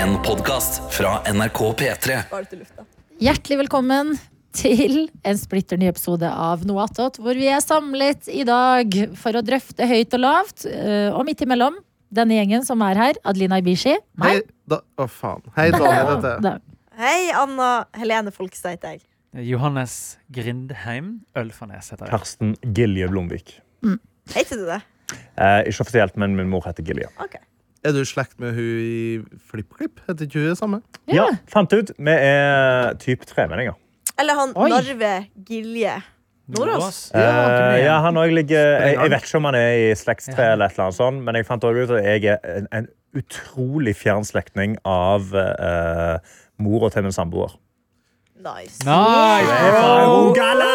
En podcast fra NRK P3 Var det til lufta? Hjertelig velkommen til en splitter ny episode av Noe attåt, hvor vi er samlet i dag for å drøfte høyt og lavt, eh, og midt imellom denne gjengen som er her, Adelina Ibishi. Meg. Hei, da, å faen. Hei, Daniel. Dette. Da- Hei, Anna Helene Folkestad heter jeg. Johannes Grindheim Ølfarnes heter jeg. Karsten Gilje Blomvik. Heter du det? Eh, ikke offisielt, men min mor heter Gilje. Ok. Er du i slekt med hun i FlippKlipp? Heter ikke hun det samme? Ja. Ja, fant ut. Vi er typ tremenninger. Eller han Oi. Narve Gilje. Nordås? Ja, det Eh, blir ja, en. han også ligger jeg, jeg vet ikke om han er i slektstre Ja. eller et eller annet sånt, men jeg fant også ut at jeg er en, en utrolig fjern slektning av eh, mora til min samboer. Nice. Nice! Oh, galla!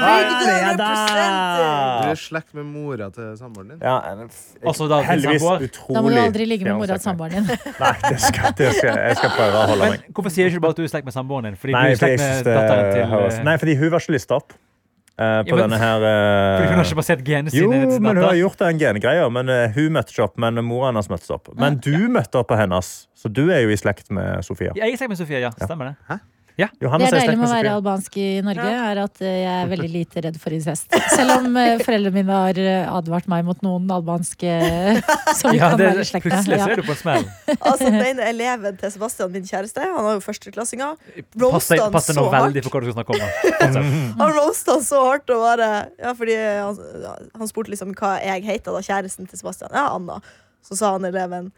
Bygdøy Du er representer! i slekt med mora til samboeren din? Ja, en- jeg- Også da din heldigvis samboer? utrolig Da må du aldri ligge med mora til fjern slektning. samboeren din. Nei, det skal, det skal, jeg skal prøve å holde Men meg. hvorfor sier du ikke bare at du er i slekt med samboeren din? Fordi Nei, du er i for jeg slekt synes med det datteren til høres eh, Nei, fordi hun var ikke lista opp eh, på Ja, men- denne her Fordi hun har eh, ikke basert genene Jo, sine til sin men hun har datter? gjort den gengreia. Men eh, hun møtte ikke opp, men mora hennes møtte opp. Men du møtte opp på hennes, så du er jo i slekt med Sofia. Jeg er i slekt med Sofie, ja. Stemmer det. Det Johannes er er i deilig med slekt med å være Sofia. albansk i Norge, er at eh, jeg er veldig lite redd for incest. Selv om eh, foreldrene mine har eh, advart meg mot noen albanske eh, som ja kan det, være i slekt med. plutselig så Ja. er du på en smell. Altså, den ene eleven til Sebastian, min kjæreste, han har jo førsteklassinger. Roast Passer, han passer nå så hardt. veldig for hva du skal snakke om. da. Han roasta han så hardt og bare Ja, fordi han, han spurte liksom hva jeg heter da, kjæresten til Sebastian. Ja, Anna. Så sa han eleven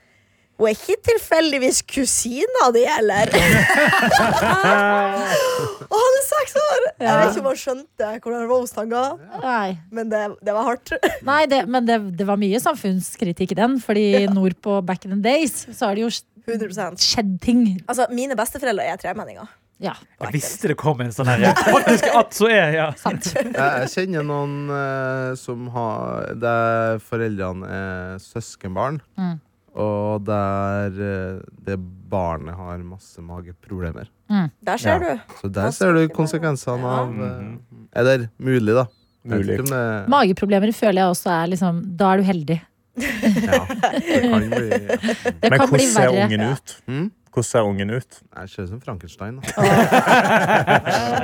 Hun er ikke tilfeldigvis kusina di, eller? og han er seks år! sånn. Jeg vet ikke om han skjønte hvordan roast han ga, Nei. men det, det var hardt. Nei, det, men det, det var mye samfunnskritikk i den, fordi nordpå back in the days så har det jo 100 skjedd ting. Altså, Mine besteforeldre er tremenninger. Ja, Jeg visste det kom en sånn her. ja. Faktisk at så er, ja. sant. Jeg, jeg kjenner noen eh, som har Der foreldrene er søskenbarn. Mm. Og der eh, det barnet har masse mageproblemer. Der ser Ja. du. Så der ser du konsekvensene av Mm-hmm. eh, Eller mulig, da. Jeg vet Mulig. ikke om det- Mageproblemer føler jeg også er liksom Da er du heldig. Ja, det kan bli Det Men kan bli hvordan ser verre. ungen ut? Mm? Hvordan ser ungen ut? Jeg ser ut som Frankenstein. Da. Det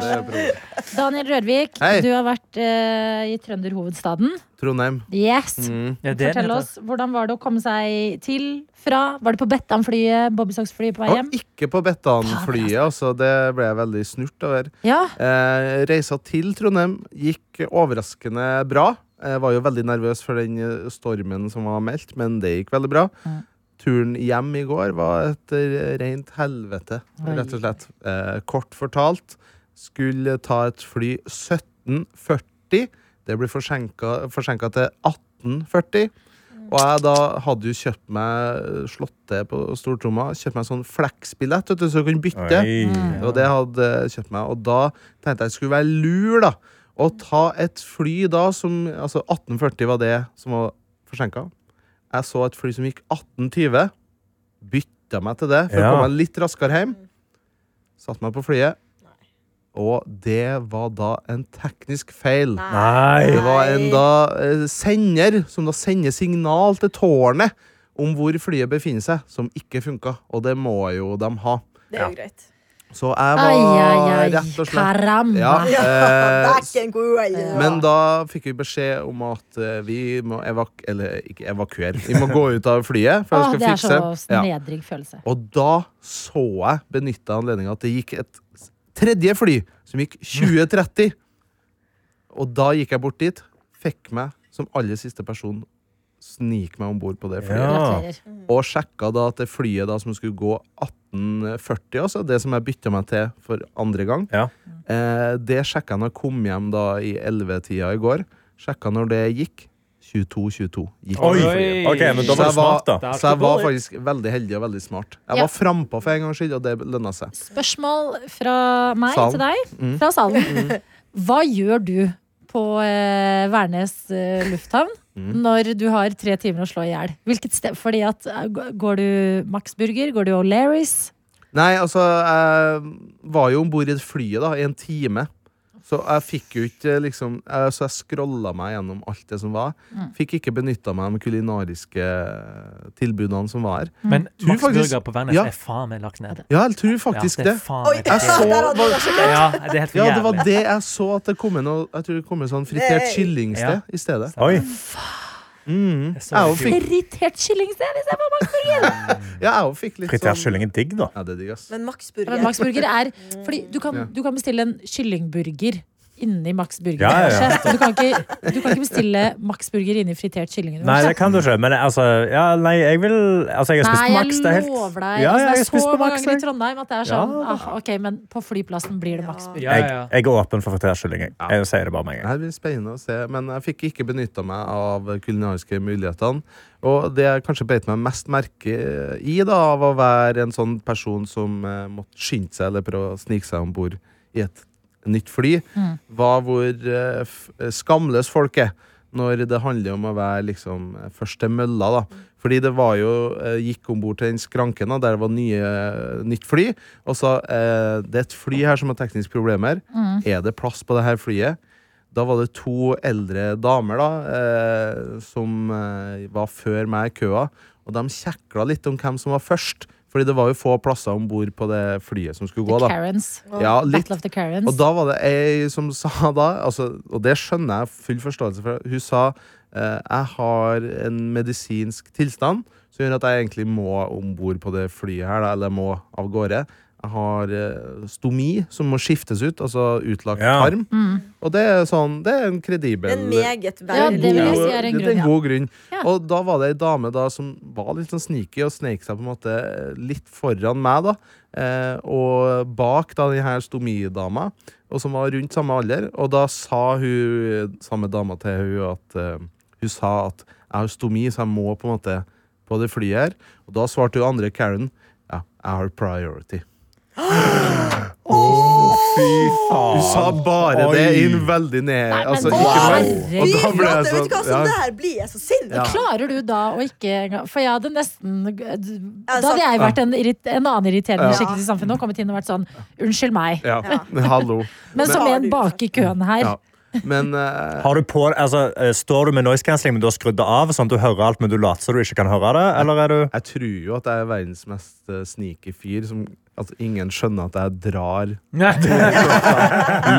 er problemet. Daniel Rørvik, Hei. du har vært eh, i trønderhovedstaden. Trondheim. Yes! Mm. ja det er den Fortell heter. oss, Hvordan var det å komme seg til fra? Var det på Bettan-flyet? Bobbysocks-flyet på vei hjem? Og ikke på Bettan-flyet, altså. Det ble jeg veldig snurt over. Ja. Eh, reisa til Trondheim gikk overraskende bra. Jeg var jo veldig nervøs for den eh, stormen som var meldt, men det gikk veldig bra. Mm. Turen hjem i går var et eh, rent helvete, Oi. rett og slett. Eh, kort fortalt skulle ta et fly 17.40. Det ble forsinka forsinka til 18.40. Og jeg da hadde jo kjøpt meg slått til på stortromma, kjøpt meg sånn fleksbillett, vet du, så jeg kunne bytte. Oi. Og det hadde jeg kjøpt meg. Og da tenkte jeg det skulle være lur, da. Å ta et fly da som Altså 1840 var det som var forsinka. Jeg så et fly som gikk 1820. Bytta meg til det for Ja. å komme meg litt raskere hjem. Satt meg på flyet. Og det var da en teknisk feil. Det Nei! var en da eh, sender som da sender signal til tårnet om hvor flyet befinner seg, som ikke funka. Og det må jo de ha. Det er jo greit. Så jeg var Ai, ai, ai. rett og slett Karamma. ja, Ja, eh, back and grind. Men da fikk vi beskjed om at eh, vi må evak... Eller ikke evakuere. Vi må gå ut av flyet. For Åh, jeg det er så skal fikse. Ja. nedrig følelse. Og da så jeg, benytta anledninga, at det gikk et tredje fly som gikk 2030. Og da gikk jeg bort dit, fikk meg som aller siste person snike meg om bord på det flyet. Ja. Gratulerer. Og sjekka da at det flyet da som skulle gå 1840, altså det som jeg bytta meg til for andre gang, Ja. eh, det sjekka jeg når jeg kom hjem da i 11-tida i går. Sjekka når det gikk. 22-22. gikk Oi! flyet. OK, men da Så var jeg du smart, da. da. Så jeg var faktisk veldig heldig og veldig smart. Jeg Ja. var frampå for en gangs skyld, og det lønna seg. Spørsmål fra meg Salen. til deg, Mm. fra salen. Hva gjør du på eh, Værnes eh, lufthavn Mm. når du har tre timer å slå i hjel? Hvilket sted? Fordi at eh, g- Går du Max Burger? Går du O'Lerris? Nei, altså, jeg var jo om bord i det flyet da, i en time. Så jeg fikk jo ikke eh, liksom jeg, Så jeg scrolla meg gjennom alt det som var. Mm. Fikk ikke benytta meg av de kulinariske eh, tilbudene som var her. Mm. Men Tror Max faktisk- Burger på Værnes ja. er faen meg lagt ned. Ja, jeg tror faktisk ja, det. det. Er faen Oi, meg der helt- så- hadde jeg sjekket. Ja, det er helt for Ja, det var jævlig. det jeg så at det kom en, Jeg tror det kom en sånn fritert Nei. kyllingsted Ja. i stedet. Oi. Mm. Jeg så Jeg òg det i fikk, Irritert kyllingsted istedenfor Max Burger! ja, jeg også fikk litt Fritert sånn kylling er digg, da. Ja, det er digg, ass. Men Max Burger Men Max Burger er Fordi du Ja. kan, du kan bestille en kyllingburger inni Max Burger. Ja, ja, ja. kanskje. Du, kan ikke, du kan ikke bestille Max Burger inni fritert kylling. Nei, det kan du ikke. Men altså, ja, nei, jeg vil Altså, jeg har spist på Nei, Max. Det er jeg helt lover deg. Ja, altså, jeg det har er så spist på mange Max. ganger i Jeg, Trondheim at det er sånn. Ja. Ah, ok, men på flyplassen blir det Max Burger. Ja, jeg, ja. jeg er åpen for fritert kylling. Jeg. jeg sier det bare med en gang. Det her blir spennende å se, men jeg fikk ikke benytta meg av kulinariske mulighetene. Og det jeg kanskje beit meg mest merke i, da, av å være en sånn person som eh, måtte skynde seg eller prøve å snike seg om bord i et nytt fly, var hvor eh, f skamløs folk er. Når det handler om å være liksom først til mølla, da. Fordi det var jo eh, Gikk om bord til den skranken, da, der det var nye, eh, nytt fly. Og sa eh, det er et fly her som har tekniske problemer. Mm. Er det plass på det her flyet? Da var det to eldre damer da, eh, som eh, var før meg i køa, og de kjekla litt om hvem som var først. Fordi det var jo få plasser om bord på det flyet som skulle gå. The da. Karens. Ja, litt. Battle of the Karens. Og da var det ei som sa da, altså, og det skjønner jeg full forståelse for, hun sa eh, jeg har en medisinsk tilstand som gjør at jeg egentlig må om bord på det flyet her, da, eller må av gårde. Jeg har eh, stomi som må skiftes ut, altså utlagt Ja. tarm. Og det er, sånn, det er en kredibel En meget Ja, det vil jeg veldig si er en grunn, det er ja. en god grunn. Ja. Og da var det ei dame da som var litt sånn sneaky og snek seg på en måte litt foran meg, da. Eh, og bak da den her stomidama, og som var rundt samme alder. Og da sa hun samme dama til hun at eh, hun sa at jeg har stomi, så jeg må på en måte på det flyet her. Og da svarte hun andre Karen ja, jeg har priority. Fy Hun sa faen. bare det Oi. i en veldig ned... Nei, men altså, hva? ikke noe- Herregud, og da Vet ble jeg sånn du hva som ja. det her blir? Jeg er så sint! Ja. Klarer du da å ikke engang- For jeg hadde nesten Da hadde sant. jeg vært en, irrit, en annen irriterende Ja. skikkelse i samfunnet og kommet inn og vært sånn Unnskyld meg, Ja. Hallo. men som en bak i køen her. Ja. Men eh, Har du på, altså, eh, står du med noise cancelling, men du har skrudd det av? Sånn at du hører alt, men du later som du ikke kan høre det? Eller er du jeg tror jo at jeg er verdens mest eh, sneaky fyr. Som, at ingen skjønner at jeg drar Nei,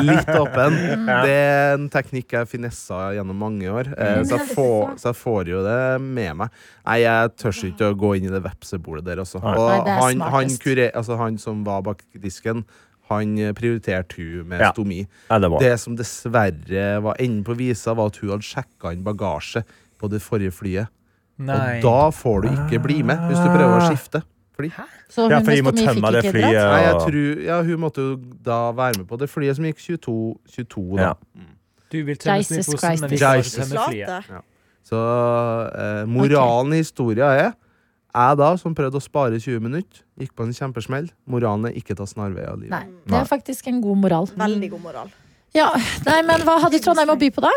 litt åpen. Det er en teknikk jeg finessa gjennom mange år, Mm. eh, så, jeg får, så jeg får jo det med meg. Nei, jeg tør ikke å gå inn i det vepsebolet der, altså. Nei. Nei, det Og er han, han, smartest. kurer, altså, han som var bak disken, han eh, prioriterte hun med Ja. stomi. Ja, det er bra. Det som dessverre var enden på visa, var at hun hadde sjekka inn bagasje på det forrige flyet. Og da får du ikke bli med hvis du Ah. prøver å skifte. Fordi, Så hun Ja, for med de må stomi fikk tømme det ikke dratt. flyet. nei, jeg og- tror, ja, hun måtte jo da være med på det flyet som gikk 22-22. da. Ja. Du vil tømme Jesus snuposen, men vi Christ. skal ikke Jesus. tømme flyet. Flate. Så eh, moralen i historia er jeg da, som prøvde å spare 20 minutter, gikk på en kjempesmell. Moralen er ikke ta snarveier av livet. Nei, det er faktisk en god moral. Veldig god moral. Ja, nei, men Hva hadde Trondheim å by på, da?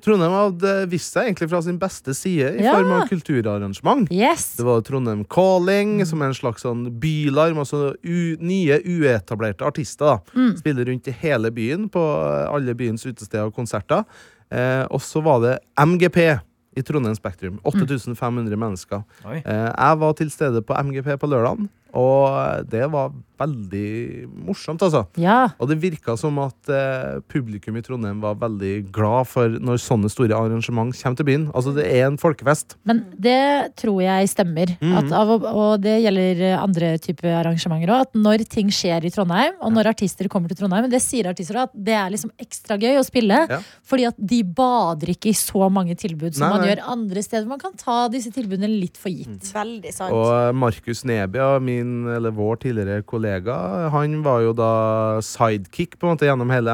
Trondheim hadde vist seg egentlig fra sin beste side i Ja. form av kulturarrangement. Yes! Det var Trondheim Calling, som er en slags sånn bylarm. Altså u nye, uetablerte artister. da Spiller rundt i hele byen, på eh, alle byens utesteder og konserter. Eh, og så var det MGP i Trondheim Spektrum. 8500 mennesker. Oi. Eh, jeg var til stede på MGP på lørdagen, og det var veldig morsomt, altså. Ja, Og det virka som at eh, publikum i Trondheim var veldig glad for når sånne store arrangement kommer til byen. Altså, det er en folkefest. Men det tror jeg stemmer. Mm. At av, og- og det gjelder andre typer arrangementer òg. At når ting skjer i Trondheim, og når artister kommer til Trondheim Det sier artister også, at det er liksom ekstra gøy å spille. Ja. Fordi at de bader ikke i så mange tilbud som Nei, man nei. Mm. gjør andre steder. Man kan ta disse tilbudene litt for gitt. Veldig sant. Og Markus Nebia, min, eller vår tidligere kollega, han var jo da sidekick på en måte gjennom hele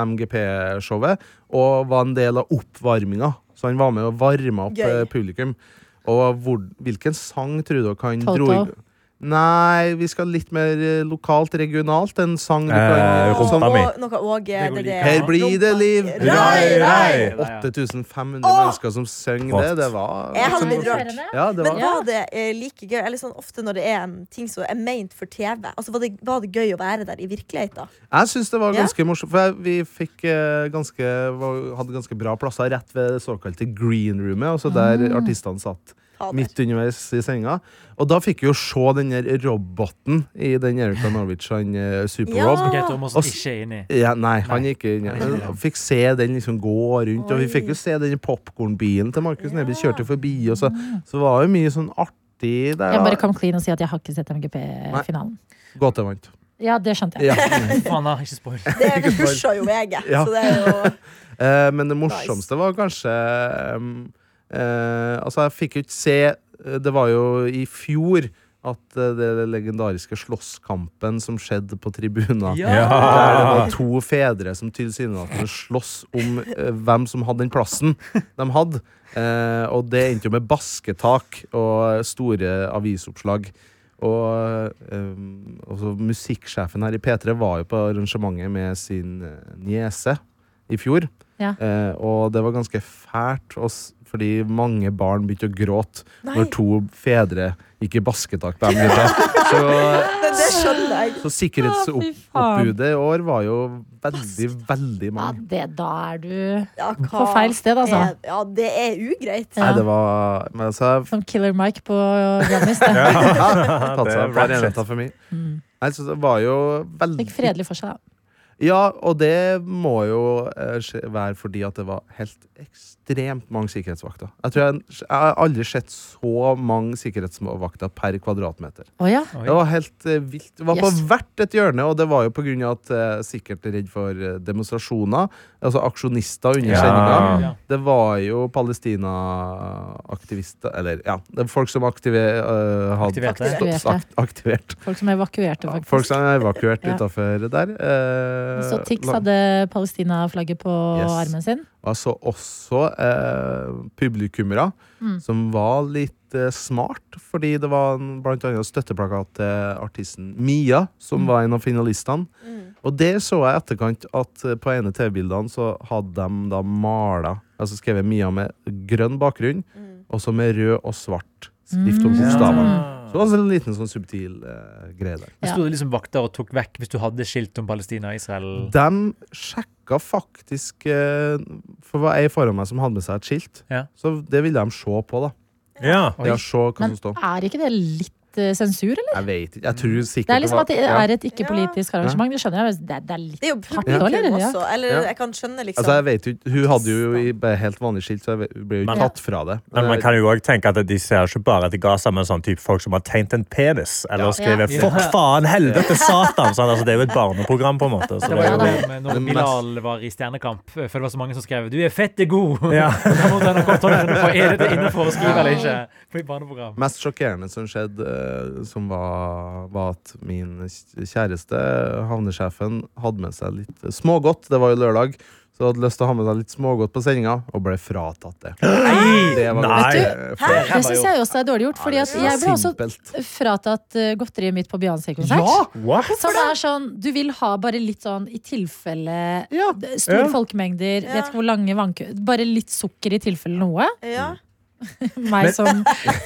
MGP-showet, og var en del av oppvarminga. Så han var med og varma opp Gøy. eh, publikum. Og hvor, hvilken sang tror dere han Toto. dro i- Nei, vi skal litt mer eh, lokalt, regionalt. En sang du Eh, kan Åh, rumpa som- mi. og Noe og, eh, Det det, går like. det, Her blir det liv! Rai, rai! Rai! Åh! 8500 mennesker som synger det. Det var liksom Jeg hadde blitt rørt. Irriterende. Ja, det Men var. var det eh, like gøy? Eller sånn ofte når det er en ting som er meint for TV, Altså var det, var det gøy å være der i virkeligheten? Jeg syns det var Ja. ganske morsomt, for jeg, vi fikk eh, ganske, var- hadde ganske bra plasser rett ved det såkalte green roomet, altså der Ah. artistene satt. Fader. Midt underveis i sendinga. Og da fikk vi jo se den der roboten i den Erika Norwich, han eh, Super-Rob. Ok, Thomas Og s- ikke er inni. Ja, nei, han gikk inn. Nei, nei, nei. Fikk se den liksom gå rundt, og vi Oi. fikk jo se den popkornbilen til Markus Neby kjørte forbi, og så, så det var jo mye sånn artig der. Jeg må bare da. come clean og si at jeg har ikke sett MGP-finalen. Gåte vant. Ja, det skjønte jeg. Ja. Faen, da, ikke spoil. Det pusha jo VG. Ja. Så det er jo Eh, men det morsomste var kanskje ehm, eh, Altså, jeg fikk jo ikke se eh, Det var jo i fjor at eh, det legendariske slåsskampen som skjedde på tribuner Der det var to fedre som tilsynelatende sloss om eh, hvem som hadde den plassen de hadde. Eh, og det endte jo med basketak og store avisoppslag. Og, eh, og så musikksjefen her i P3 var jo på arrangementet med sin eh, niese i fjor. Ja. Eh, og det var ganske fælt, og s- fordi mange barn begynte å gråte Nei, når to fedre gikk i basketak på dem. Så men det skjønner jeg. Å, så fy faen. sikkerhetsoppbudet i år var jo veldig, veldig Ja, mange. det, da er du Ja, hva på feil sted, altså. er, ja, det er ugreit. Ja. Nei, det var Men altså, jeg Som Killer Mike på Grammys. det. har tatt seg et Det er par ratchet. enheter for mye. Nei, så det var jo veldig Mm. Fikk fredelig for seg, da. Ja, og det må jo eh, skje- være fordi at det var helt ekstremt mange sikkerhetsvakter. Jeg tror jeg, jeg har aldri sett så mange sikkerhetsvakter per kvadratmeter. Å ja. Oi. Det var helt eh, vilt. Det var Yes. på hvert et hjørne, og det var jo på grunn av at eh, sikkert redd for eh, demonstrasjoner. Altså aksjonister under Ja. sendinga. Ja. Det var jo Palestina-aktivister Eller ja, det er folk som aktive, øh, hadde Aktiverte. stått- akt- aktivert. Folk som evakuerte, Ja, faktisk. Folk som er evakuert Ja. utafor der. eh, Så Tix la- hadde Palestina-flagget på Yes. armen sin. Og jeg så Altså også eh, publikummere Mm. som var litt eh, smart, fordi det var en, blant annet støtteplakat til artisten Mia, som var en av finalistene. Mm. Og det så jeg i etterkant at eh, på ene TV-bildene så hadde de da mala, altså skrevet Mia med grønn bakgrunn, Mm. og så med rød og svart skrift om Mm. bokstavene. Så det Så var altså en liten sånn subtil eh, greie der. det stod liksom vakter og tok vekk hvis du hadde skilt om Palestina og Israel. De sjekka faktisk eh, For det var ei foran meg som hadde med seg et skilt. Ja. Så det ville de se på, da. Ja. Oi. Ja, se hva Men som står. er ikke det litt eh, sensur, eller? Jeg vet ikke. Jeg tror sikkert Det er liksom at det ja. er et ikke-politisk arrangement. Det skjønner jeg. men Det er, det er litt Det er jo Hardt da, eller? publikum Ja. også. Eller Ja. jeg kan skjønne, liksom. sånn. Altså, jeg vet jo ikke. Hun hadde jo i- bare helt vanlig skilt, så jeg vet- hun ble jo Men- ikke tatt fra det. Men man kan jo òg tenke at de ser ikke bare til Gaza, men sånn type folk som har tegnet en penis. Eller skriver Ja. 'fuck faen, helvete, satan'. Sånn, altså, det er jo et barneprogram, på en måte. Så Det det var er jo jo, det med når Men mest- Bilal var i Stjernekamp, eh, for det var så mange som skrev 'Du er fette god'! Ja. da måtte NRK ta den på er dette innenfor å skrive eller ikke. På et barneprogram. mest sjokkerende som skjedde, eh, som var, var at min kjæreste, havnesjefen, hadde med seg litt smågodt. Det var jo lørdag, så hadde lyst til å ha med seg litt smågodt på sendinga, og ble fratatt det. Det var Nei. ganske flaut. Det syns jeg også er dårlig gjort. Fordi at jeg ble også Simpelt. fratatt eh, godteriet mitt på Beyoncé-konsert. Ja! What? Som er sånn, du vil ha bare litt sånn i tilfelle Ja. d- Store Ja. folkemengder, Ja. vet ikke hvor lange vannkø Bare litt sukker i tilfelle noe. ja. Meg som,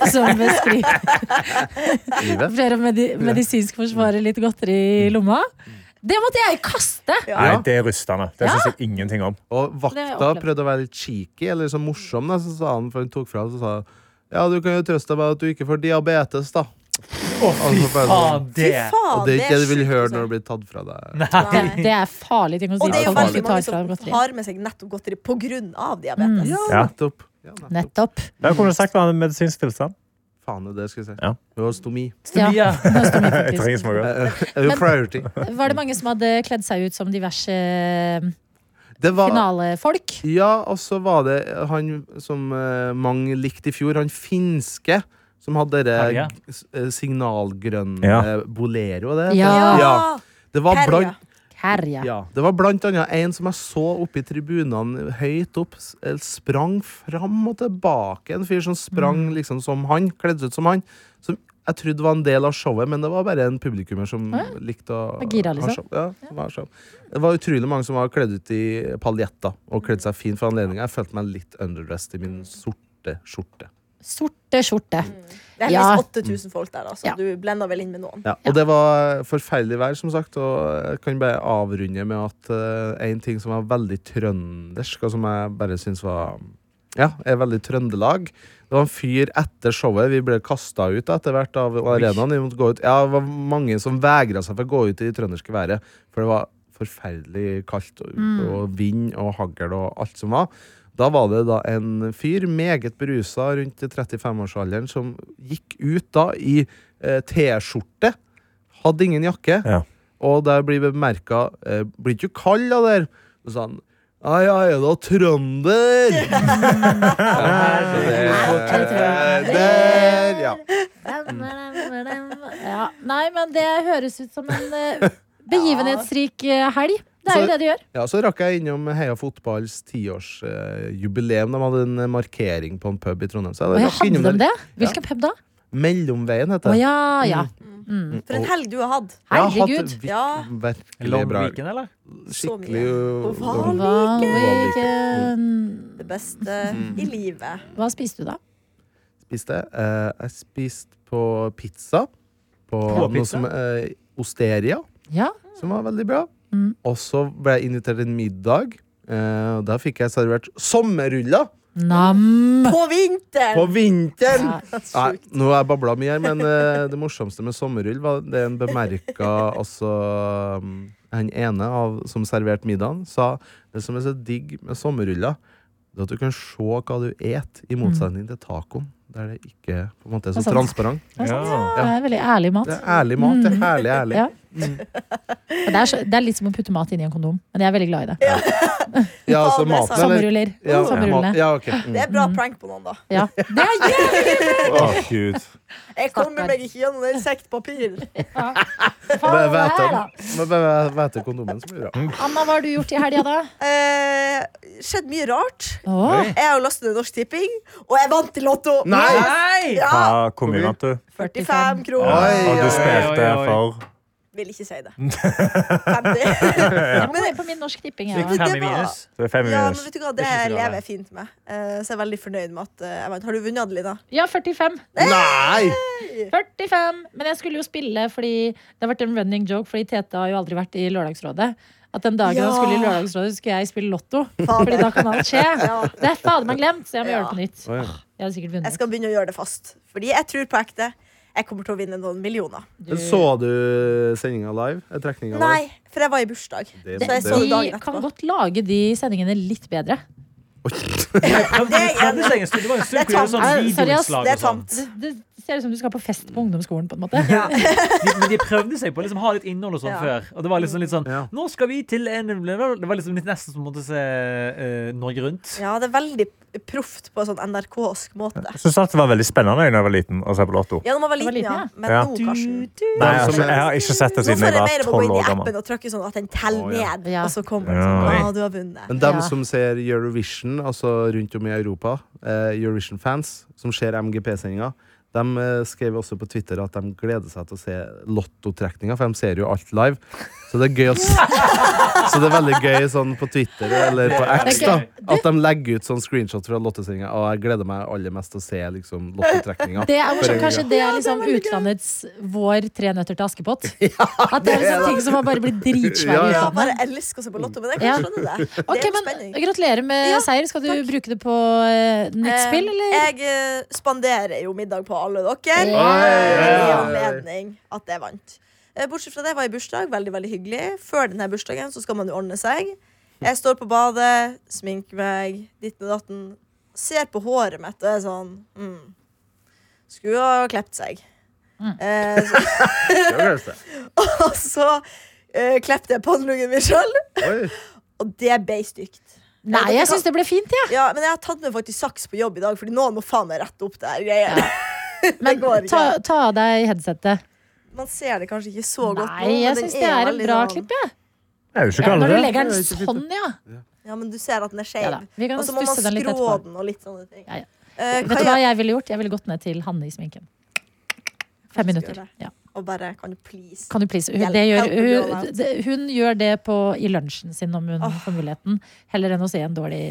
som beskriver Livet. flere medi medisinsk forsvarer litt godteri i lomma. Det måtte jeg kaste! Nei, det er rystende. Det syns jeg ingenting om. Og Det vakta opplevde- prøvde å være litt cheeky, eller så morsom, da, så sa han, for hun tok fra så sa han, ja, du kan jo trøste deg med at du ikke får diabetes, da. Å, fy Altså, Fy bare faen, Ah, faen, det! Og det er ikke det du vil sjukt, høre altså. når du blir tatt fra deg. Det, Nei. det er farlig ting å si. Og det er jo folk ikke veldig mange tar fra dem som godteri. har med seg nettopp godteri på grunn av diabetes. Mm. Ja. Nettopp. Ja, nettopp. Nettopp. Det kunne du sagt var en medisinsk tilstand. Faen, det er det jeg skulle si. Ja. Du har stomi. Ja, Ja. nå står det Jeg trenger faktisk. smågodt. Eh, eh, Priority. Var det mange som hadde kledd seg ut som diverse eh, Det var finalefolk? Ja, og så var det han som eh, mange likte i fjor, han finske, som hadde det Terje? eh, signalgrønne Ja. bolero. Det, Ja. Ja. Det, var Terje. blant, Herja. ja. det var blant annet en som jeg så oppe i tribunene høyt opp, s- eh, Mm. sprang fram og tilbake. En fyr som sprang liksom som han, kledd ut som han, som jeg trodde det var en del av showet, men det var bare en publikummer som Å likte å Var gira, liksom. ha show. Ja, som var show. Det var utrolig mange som var kledd ut i paljetter og kledd seg fint for anledningen. Jeg følte meg litt underdressed i min sorte skjorte. Sorte skjorte. Det er Ja. heldigvis 8000 folk der, da, så Ja. du blender vel inn med noen. Ja, og det var forferdelig vær, som sagt. Og jeg kan bare avrunde med at eh, en ting som var veldig trøndersk, og som jeg bare syns var ja, er veldig Trøndelag. Det var en fyr etter showet. Vi ble kasta ut etter hvert av arenaen. Vi måtte gå ut. Ja, det var mange som vegra seg for å gå ut i det trønderske været. For det var forferdelig kaldt, og, og vind og hagl og alt som var. Da var det da en fyr, meget berusa, rundt 35-årsalderen, som gikk ut da i eh, T-skjorte. Hadde ingen jakke. Ja. Og der blir bemerka eh, Blir ikke du kald av det her? Så sa han Ja, ja, er da trønder? Ja, så det- Eh, Trønder, ja. Eh, Ja. Nei, men det høres ut som en eh, begivenhetsrik eh, helg. Det er jo Så- det det gjør. Ja, så rakk jeg innom Heia Fotballs tiårsjubileum. De hadde en markering på en pub i Trondheim. Så Og jeg jeg rakk hadde innom dem der. det? Hvilken pub da? Mellomveien, Å heter det. ja, ja. For en helg du har hatt. Herregud. Jeg Ja. har hatt vir- virkelig Long bra. weekend, eller? Så mye. Skikkelig Og hva? long- Hva, Vanlig. hvilken- Det beste Mm. i livet. hva spiste du da? spiste. Eh, jeg spiste på pizza. På, På noe pizza? som eh, Osteria, Ja, som var veldig bra. Mm. Og så ble jeg invitert til en middag. Eh, og da fikk jeg servert sommerruller nam. På vinteren! på vinteren! Ja. Nei, nå har jeg babla mye her, men eh, det morsomste med sommerrull var det en bemerka altså um, Han ene av, som serverte middagen, sa det som er så digg med sommerruller, det er at du kan se hva du et, i motsetning til tacoen. Der det ikke på en måte er Det så er sant. transparent. Det er sant. Ja. Det er veldig ærlig mat. Det er ærlig mat. Det er herlig, ærlig. Mm. Ja. Og Det er, så, det er litt som å putte mat inni en kondom, men jeg er veldig glad i det. Ja, Faen, det er altså maten, sant. eller? Sommerruller. Ja, mat- Sommerrullene. ja, ok. Mm. Det er bra prank på noen, da. Ja. Det er jævlig! Å, Gud. Jeg kommer Stakkar. meg ikke gjennom den sekt papir. Bare Faen, det vet her, om- da. bare- bare vet om kondomen, så blir det bra. Anna, hva har du gjort i helga, da? Eh, skjedd mye rart. Åh, Jeg har jo lastet ned Norsk Tipping, og jeg vant i Lotto! Nei! Ja, Hva, hvor mye vant du? 45 kroner. Oi, Og oi, du spilte oi, oi. for Vil ikke si det. 50. jeg må gå inn på min norsk tipping. Gikk Ja. det fem i var- minus. det er fem Ja, men minus. vet du hva, Det Det er ikke så bra, lever det. jeg fint med. Eh, Så jeg er veldig fornøyd med at eh, jeg vant. Har du vunnet, Adelina? ja, 45. Nei! 45! Men jeg skulle jo spille fordi det har vært en running joke, fordi Tete har jo aldri vært i Lørdagsrådet. At den dagen Ja. han skulle i Lørdagsrådet, skulle jeg spille Lotto. Fader. Fordi da kan alt skje. Ja. Det er fader meg glemt, så jeg må Ja. gjøre det på nytt. Åh, Jeg hadde sikkert Jeg vunnet. skal begynne å gjøre det fast. Fordi jeg tror på ekte jeg kommer til å vinne noen millioner. Men så du sendinga live? Eh, Trekninga live? Nei, for jeg var i bursdag. Det- Så jeg det- så det Vi dagen kan etterpå. godt lage de sendingene litt bedre. Det var en stund- det var en stund Det er hvor vi gjorde sånn tamt. Seriøst, videoinnslag det og er sånn. tamt. Det, det ser ut som du skal på fest på ungdomsskolen, på en måte. De, men de prøvde seg på å liksom, ha litt innhold og sånn Ja. før. Og det var liksom litt sånn Ja. Nå skal vi til en Det var liksom litt nesten som å måtte se eh, Norge Rundt. Ja, det er veldig proft på en sånn NRK-sk måte. Jeg syns det var veldig spennende da jeg var liten å se på Lotto. Ja, da man var Du var liten, ja. liten, Men ja. nå, Karsten Nei, jeg, har ikke- jeg har ikke sett Nå det får siden jeg jeg var mer om å gå inn tolv i år gammel. appen og trykke sånn at den teller Å, ja. ned, Ja. og så kommer den Ja. sånn. Oi. Å, du har vunnet. Men dem Ja. som ser Eurovision, altså rundt om i Europa, eh, Eurovision-fans, som ser MGP-sendinga, de eh, skrev også på Twitter at de gleder seg til å se lottotrekninga, for de ser jo alt live. Så det er gøy å s- Så det er veldig gøy sånn på Twitter eller på X Det er da gøy. at de legger ut sånn screenshots fra lottosendinga. Og jeg gleder meg aller mest til å se liksom, lottotrekninga. Det er morsomt. For Kanskje øyeblikket. det er liksom utlandets vår Tre nøtter til Askepott? At det er liksom ting som har bare blitt dritsvære Ja, i ja. Ja, utlandet? bare elsker å se på Lotto, men jeg Ja. kan skjønne det. Det Ok, er jo men spenning. Gratulerer med Ja, seier. Skal du bruke det på eh, nytt spill, eller? Eh, Jeg eh, spanderer jo middag på alle dere. Eh, I Oi! anledning at jeg vant. Eh, Bortsett fra det var jeg i bursdag. Veldig veldig hyggelig. Før denne bursdagen så skal man jo ordne seg. Jeg står på badet, sminker meg, ditten og datten. Ser på håret mitt og er sånn mm. Skulle ha klept seg. Mm. Eh, så, Det er gøy å se. og så eh, klepte jeg panneluggen min sjøl, Oi. og det ble stygt. Nei, jeg syns det ble fint, jeg. Ja, men jeg har tatt med faktisk saks på jobb i dag, Fordi noen må faen meg rette opp det her greia. Men går ikke. ta, ta av deg headsetet. Man ser det kanskje ikke så godt nå, Nei, men jeg den syns det er en veldig bra sånn- klipp, jeg. Jeg er jo ikke Ja, gammel, når du det. legger den Det er ikke sånn, ja. Ja, men du ser at den er ja skeiv. da. Vi kan og så må man stusse den litt skrå etterpå. den og litt sånne ting. Ja, ja. Eh, Vet hva du hva jeg, jeg ville gjort? Jeg ville gått ned til Hanne i sminken. Fem skal minutter. gjøre. Ja. Og bare Kan du please? Kan du please? Hun, Hjelp, det gjør, help me all hun, out. det, hun gjør det på, i lunsjen sin om hun Åh. får muligheten, heller enn å se en dårlig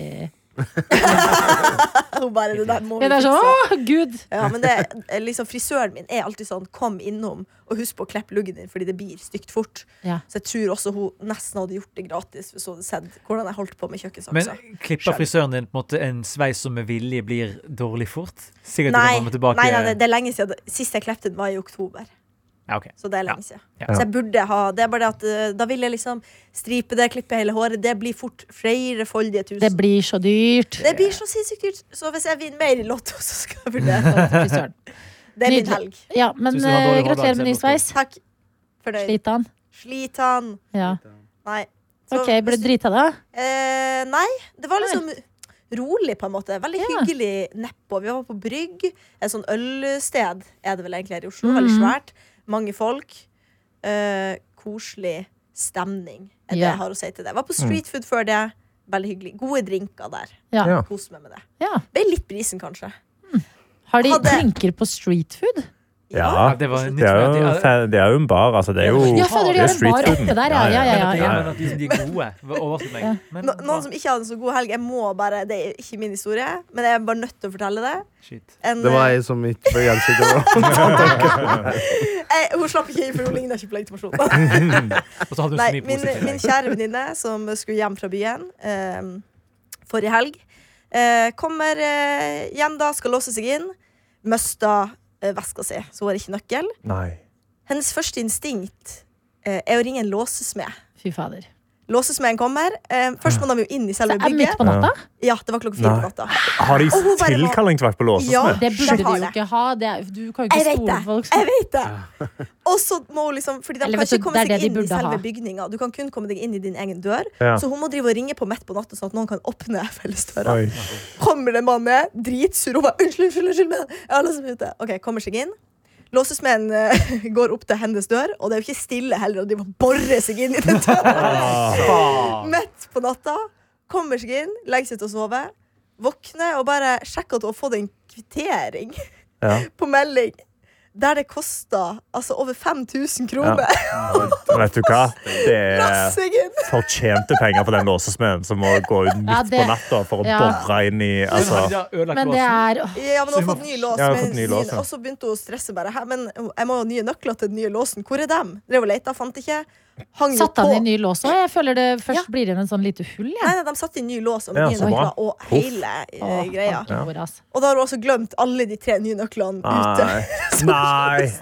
Hun bare, det der må vi Det er sånn, fikse. Å, gud! Ja, men det, er liksom Frisøren min er alltid sånn 'kom innom og husk på å klippe luggen din', fordi det blir stygt fort. Ja. Så jeg tror også hun nesten hadde gjort det gratis hvis hun hadde sett hvordan jeg holdt på med Men kjøkkensaksa. klipper frisøren din på en måte en sveis som med vilje blir dårlig fort? Sikkert Nei, når man nei, kommer tilbake nei, det- det er lenge siden. Sist jeg klepte den, var i oktober. Ja, ok. Så det er lenge siden. Ja. Så jeg burde ha Det er bare det at eh, da vil jeg liksom stripe det, klippe hele håret. Det blir fort flerefoldige tusen. Det blir så dyrt. Det blir så sinnssykt dyrt. Så hvis jeg vinner mer i Lotto, så skal jeg vurdere det. Frisøren. Det er min Nydelig. helg. Ja, men Tusen takk, eh, Dårlig gratulerer med ny Hårdal. sveis. Takk. Fornøyd. Slit han. Slit han. Ja. Nei. Så- Ok, ble du drita da? Eh, nei, det var liksom rolig, på en måte. Veldig Ja. hyggelig nedpå. Vi var på Brygg, et sånn ølsted er det vel egentlig her i Oslo. Veldig Mhm. svært. Mange folk. Eh, koselig stemning er det Ja. jeg har å si til det. Var på street food før det. Veldig hyggelig. Gode drinker der. Ja. Ja. Kos meg med det. ja. Ble litt brisen, kanskje. Har de Hadde- drinker på street food? Ja, Ja, det var nytt Det er, for meg jo, at de- fa- det er jo en bar. Altså, det er jo Ja, fader, de har det er en bar streetfooden. etter der, ja. Ja, ja, ja, ja, Men at de, ja, men at de, de er gode. var- Overrasket meg. Men, No, noen som ikke hadde en så god helg. Jeg må bare, Det er ikke min historie, men jeg er bare nødt til å fortelle det. Shit. En, Det var jeg som ikke ble gjensidig. eh, hun slapp ikke inn, for hun ligna ikke på legitimasjon. Og så hadde hun så Nei, mye min, positivt. min kjære venninne som skulle hjem fra byen eh, forrige helg, eh, kommer eh, hjem da, skal låse seg inn, mista eh, veska si, så hun har ikke nøkkel. Nei. Hennes første instinkt eh, er å ringe en låsesmed. Fy fader. Låsesmeden kommer. Eh, først må de jo inn i Så selve er det Ah, midt bygget. på natta? Ja, det var klokka fire Nei. på natta. Har de Og hun bare var- tilkallingsvakt på altså? Ja. låsesmed? Det De burde har de jo det. ikke ha. Det er, du kan jo Jeg ikke vet stole det. på folk. Jeg vet det! Og så må hun liksom Fordi de Eller kan vet du, ikke komme det seg er det de inn i burde ha. selve bygninga. Du kan kun komme deg inn i din egen dør. Ja. Så hun må drive og ringe på midt på natta, sånn at noen kan åpne fellesdøra. Oi. Kommer det en mann ned, dritsur, og bare 'Unnskyld, unnskyld, unnskyld, men jeg har låst meg ute.' Ok, kommer seg inn. Låsesmeden eh, går opp til hennes dør, og det er jo ikke stille heller, og de må bore seg inn i den døra. Midt på natta. Kommer seg inn, legger seg til å sove. Våkner og bare sjekker at hun har fått en kvittering Ja. på melding der det kosta altså over 5000 kroner. Vet du hva? Det er Rassingen! fortjente penger for den låsesmeden som må gå ut midt Ja, det- på natta for å Ja. bore inn i Men altså. har de da ødelagt Men det låsen? er Ja, men hun har fått ny lås. Ja, hun har men fått ny sin- lås, ja. Og så begynte hun å stresse bare. Hæ, men jeg må ha nye nøkler til den nye låsen. Hvor er dem? Drev og leita, fant ikke. Hang jo Satte på. han i ny lås òg? Jeg føler det først Ja. blir igjen en sånn lite hull. Jeg. Nei, nei, De satte i ny lås og Ja, nye så bra. nøkler og hele eh, Åh, greia. banken vår, ass. Og da har hun også glemt alle de tre nye nøklene ute. Nei. Nei.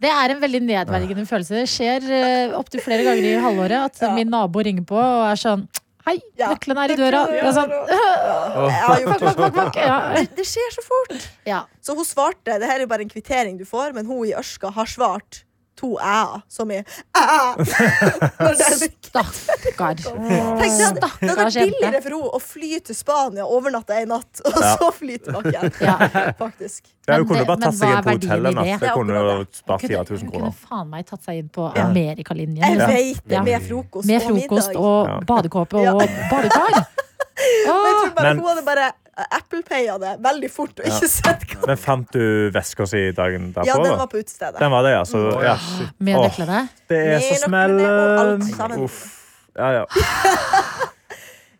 Det er en veldig Ah. nedverdigende følelse. Det skjer uh, opptil flere ganger i halvåret at min nabo ringer på og er sånn Hei, Ja. nøkkelen er i døra. Nøkkelen er i Og sånn, Jeg har jo «Fuck, fuck, fuck, fuck». Ja. Det skjer så fort. Ja. Så hun svarte Det her er jo bare en kvittering du får, men hun i Ørska har svart to æ-er, som i æ-æ. Når det er- Stakkar. Tenk deg, det hadde vært Stakkars jente. billigere for henne å fly til Spania, overnatte en natt, og Ja. så fly tilbake igjen. Ja. Faktisk. Men Ja, hun kunne det- bare men tatt seg hva inn er på verdien hotellet i en det? natt. Det Ja, kunne akkurat jo spart Hun kunne, 4000 hun kunne kroner. faen meg tatt seg inn på Ja. Amerikalinjen. Jeg liksom. vet det. Ja. Med frokost, Med frokost middag. og badekåpe Ja. og badekar. Men jeg tror bare Men- hun hadde bare eh, Apple-paya det veldig fort og ikke sett hva Men fant du veska si dagen derpå? Ja, den da? var på utestedet. Den var det, ja. Så, ja. Med Åh. nøklene. Det er så Med nøklene og alt smellen. sammen. Uff. Ja, ja.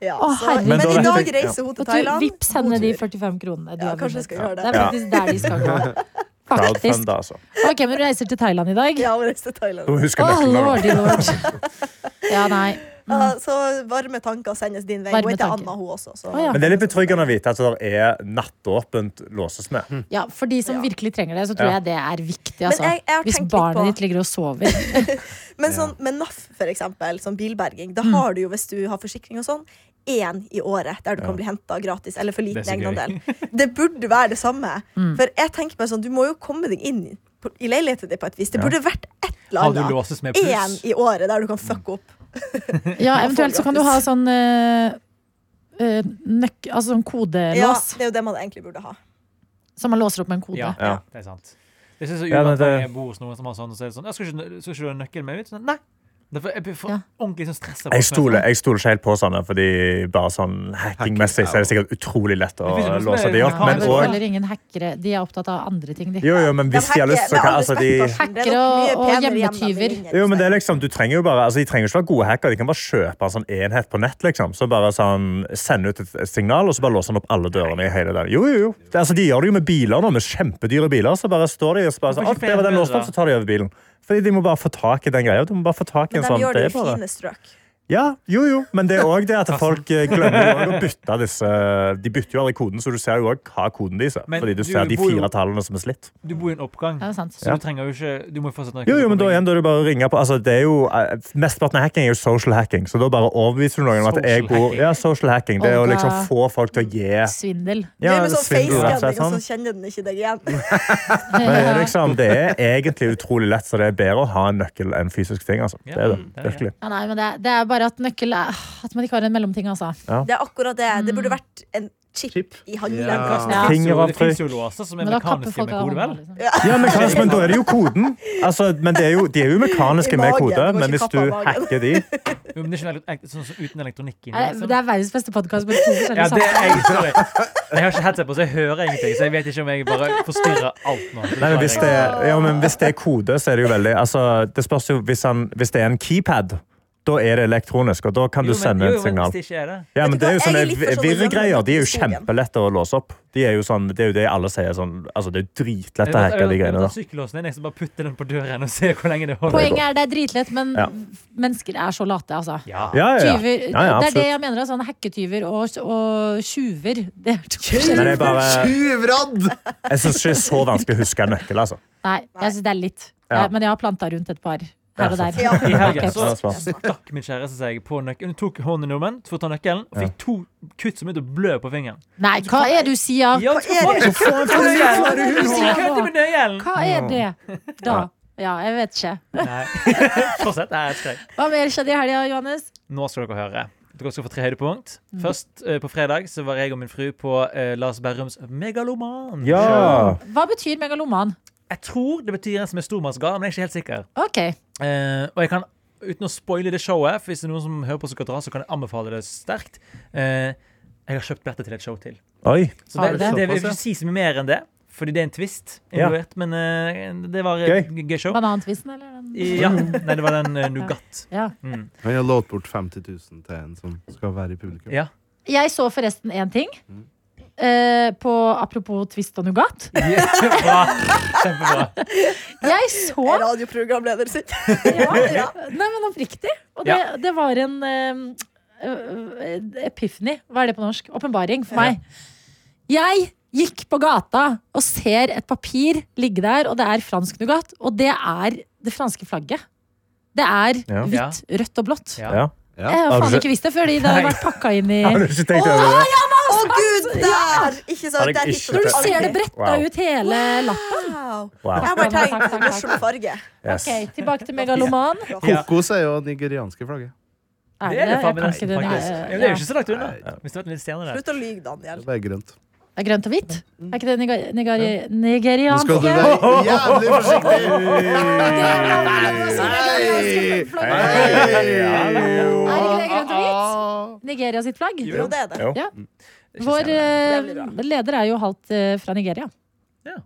Ja, Å, så, herregud. men, Men da i vet dag jeg- reiser hun Og til du, Thailand. vips henne de 45 kronene. Du Ja, har kanskje jeg vunnet. skal gjøre det. Det er Ja. faktisk der de skal gå. Faktisk. Crowdfund, altså. Ok, men du reiser til Thailand i dag? Ja, hun reiser til Thailand. Du må huske Å, nøklene. da. lordy lord. Ja, nei. Ja, så varme tanker sendes din vei. Varme Hun heter tanker. Anna, hun også. Så. Å, ja. Men det er litt betryggende å vite at det er nattåpent låsesmed. Ja, For de som Ja. virkelig trenger det, så tror Ja. jeg det er viktig. Men Altså. jeg- jeg har Hvis tenkt litt barnet på- ditt ligger og sover. Men sånn, med NAF, for eksempel, som bilberging, Mm. da har du jo, hvis du har forsikring og sånn, én i året der du kan bli henta gratis, eller for liten Det er så gøy. Mm. egenandel. Det burde være det samme. For jeg tenker meg sånn, du må jo komme deg inn i- på- i leiligheten din på et vis. Det burde vært et eller Har du annet. låses med Én pluss? i året der du kan fucke opp. Ja, Eventuelt så kan du ha sånn eh, eh, nøk, altså sånn Ja, kodelås. det er jo det man egentlig burde ha. Som man låser opp med en kode. Ja, Ja. det er sant. Jeg synes det Ja, er men uvant når det- jeg bor hos noen som har sånn, og så er det sånn «Jeg 'Skal ikke, skal ikke du ha nøkkelen med ut?' Sånn, Nei. Derfor jeg blir for Ja. ordentlig sånn stressa. Jeg stoler, jeg stoler ikke helt på sånne, fordi bare sånn hackingmessig så er det sikkert utrolig lett å Det finnes jo låse masse- de opp. Ja, Men Men det er vel også- og, heller ingen hackere. De er opptatt av andre ting, de. jo, jo, men hvis de har lyst, så kan altså de Hackere og- og hjemmetyver. jo, men det er liksom, du trenger jo bare, altså, De trenger jo ikke være gode hacker, de kan bare kjøpe en sånn enhet på nett. liksom. Så bare sånn, Sende ut et et signal, og så bare låse den opp alle dørene. i hele den. Jo, jo, jo. Det, altså, De gjør det jo med biler nå, med kjempedyre biler. Så bare står de og så bare sånn, Hvorfor «Å, ikke det var den låst opp, så tar de over bilen. Fordi de må bare få tak i den greia. De må bare få tak i Men en de sånn. gjør det det i er bare... fine strøk. Ja, jo, jo. Men det er òg det at folk eh, glemmer jo også å bytte disse De bytter jo aldri koden, så du ser jo òg hva koden deres er. Men Fordi du du ser de bor jo- fire tallene som er slitt. sånn, Du bor i en oppgang, Ja, det er sant. så du trenger jo ikke Du må jo fortsatt Jo, jo, men da igjen, da er det bare å ringe på altså, det er jo, eh, Mesteparten av hacking er jo social hacking, så da bare overbeviser du noen om at jeg Social bor hacking. Ja, social hacking. Det er å Olga. liksom få folk til å gi ja, Svindel. Det er med sånn svindel, rett og slett, faceskanning, og sånn. så kjenner den ikke deg igjen. Men det er liksom, det er egentlig utrolig lett, så det er bedre å ha en nøkkel enn fysisk ting. altså. Ja, Det er det, det er det. virkelig. Ja, nei, men det, er- det er bare at nøkkel er ah, At man ikke har en mellomting, altså. Det er akkurat det. Det burde Mm. vært en chip, i Ja. handelen. Hva kanskje. slags Ja. fingeravtrykk? Det Fingeravtrykk. fins jo låser som er Men da kapper mekaniske folk med av kode, vel? hånda, liksom. Ja, mekanisk, men da er det jo koden. Altså, men det er jo, de er jo mekaniske I med magen, kode, du må men ikke hvis kappe du av magen. hacker de Jo, men det er ikke elekt- ek- sånn som uten elektronikk inni. Er det- liksom. Det er sånn. verdens beste podkast med to Ja, forskjellige det er samtaler. jeg, sorry. Jeg har ikke headset på, så jeg hører ingenting. Så jeg vet ikke om jeg bare forstyrrer alt nå. Nei, men hvis det, ja, men hvis det er kode, så er det jo veldig altså, Det spørs jo hvis, han, hvis det er en keypad. Da er det elektronisk, og da kan Jo, du men- sende jo, et jo, men signal. Hvis det ikke er det. Ja, Vet men du det er jo hva, sånne jeg er litt for sånn virregreier. De er jo gjennomgående kjempelette å låse opp. De er jo sånn, det er jo det alle sier. Sånn, altså, det er jo dritlett å hacke de greiene Jeg der. tar sykkellåsen inn, sånn jeg skal bare putte den på døren og se hvor lenge det holder. Poenget er det er dritlett, men Ja. mennesker er så late, altså. Ja. Ja, ja, ja. Tyver, ja, ja det er det absolutt. jeg mener. Sånn hacketyver og, og tjuver. Det er to Men forskjellige jeg bare, Tjuvradd! jeg syns ikke det er så vanskelig å huske en nøkkel, altså. Nei, jeg syns det er litt. Ja. Ja, men jeg har planta rundt et par her og der. Ja. I helgen så Ja, smart. stakk min kjæreste seg på nøkkelen. Hun tok hånden om den for å ta nøkkelen, og fikk to kutt som begynte å blø på fingeren. Nei, hva er det du sier? Ja, Hva er det? Kødder med nøkkelen! Kødder med nøkkelen! Hva er det? Da? Ja, jeg vet ikke. Nei. Fortsett. Nei, jeg skrek. Hva mer skjedde i helga, Johannes? Nå skal dere høre. Dere skal få tre høydepunkt. Mm. Først eh, på fredag så var jeg og min fru på eh, Lars Berrums Megaloman. Ja. Hva betyr megaloman? Jeg tror det betyr en som er stormannsgal, men jeg er ikke helt sikker. OK. Eh, og jeg kan, uten å spoile det showet, for hvis det er noen som hører på som skal dra, så kan jeg anbefale det sterkt. Eh, jeg har kjøpt dette til et show til. Oi. Så Har du det, det? det, vil ikke si så mye mer enn det, fordi det er en twist Ja. involvert. Men eh, det var Gøy. et g- gøy show. Banantvisten, eller? I- Ja. Nei, det var den uh, Nougat. Ja. Mm. Han har lånt bort 50 000 til en som skal være i publikum. Ja. Jeg så forresten én ting. Mm. Eh, på, apropos Twist og Nougat. Bra. Kjempebra. Jeg så Er Radioprogramleder sitt. ja, ja. Nei, men oppriktig. Og det, Ja. det var en eh, epiphany. Hva er det på norsk? Åpenbaring for meg. Jeg gikk på gata og ser et papir ligge der, og det er fransk nougat. Og det er det franske flagget. Det er Ja. hvitt, rødt og blått. Ja. Ja. Jeg har Har du faen ikke- ikke visst det før det hadde Nei. vært pakka inn i Har du ikke tenkt over det? Å, gud, der! Ikke Har sant? jeg Der ikke hittet Når du sett ser det bretta Wow. ut hele lappen. Wow. Jeg Wow. har bare Takk, takk, tenkt takk, morsom farge. Yes. Ok, Tilbake til megaloman. Ja. Kokos er jo det nigerianske flagget. Er Det er Jeg det faen meg kan ikke nesten, det. faktisk. Nei, Ja, men Det er ja. jo ikke så langt unna. Nei. Hvis det var en liten stjerne der. Slutt å lyge, Daniel. Det er bare grønt. Det er grønt og hvitt? Er ikke det niga- nigari- Nå skal du nigerianske? være jævlig forsiktig! Hei! Hei. Er ikke det grønt og hvitt? Nigeria sitt flagg? Jo, det er det. Jo. Ikke Vår stjerne. eh, Det er veldig bra. leder er jo halvt eh, fra Nigeria. Det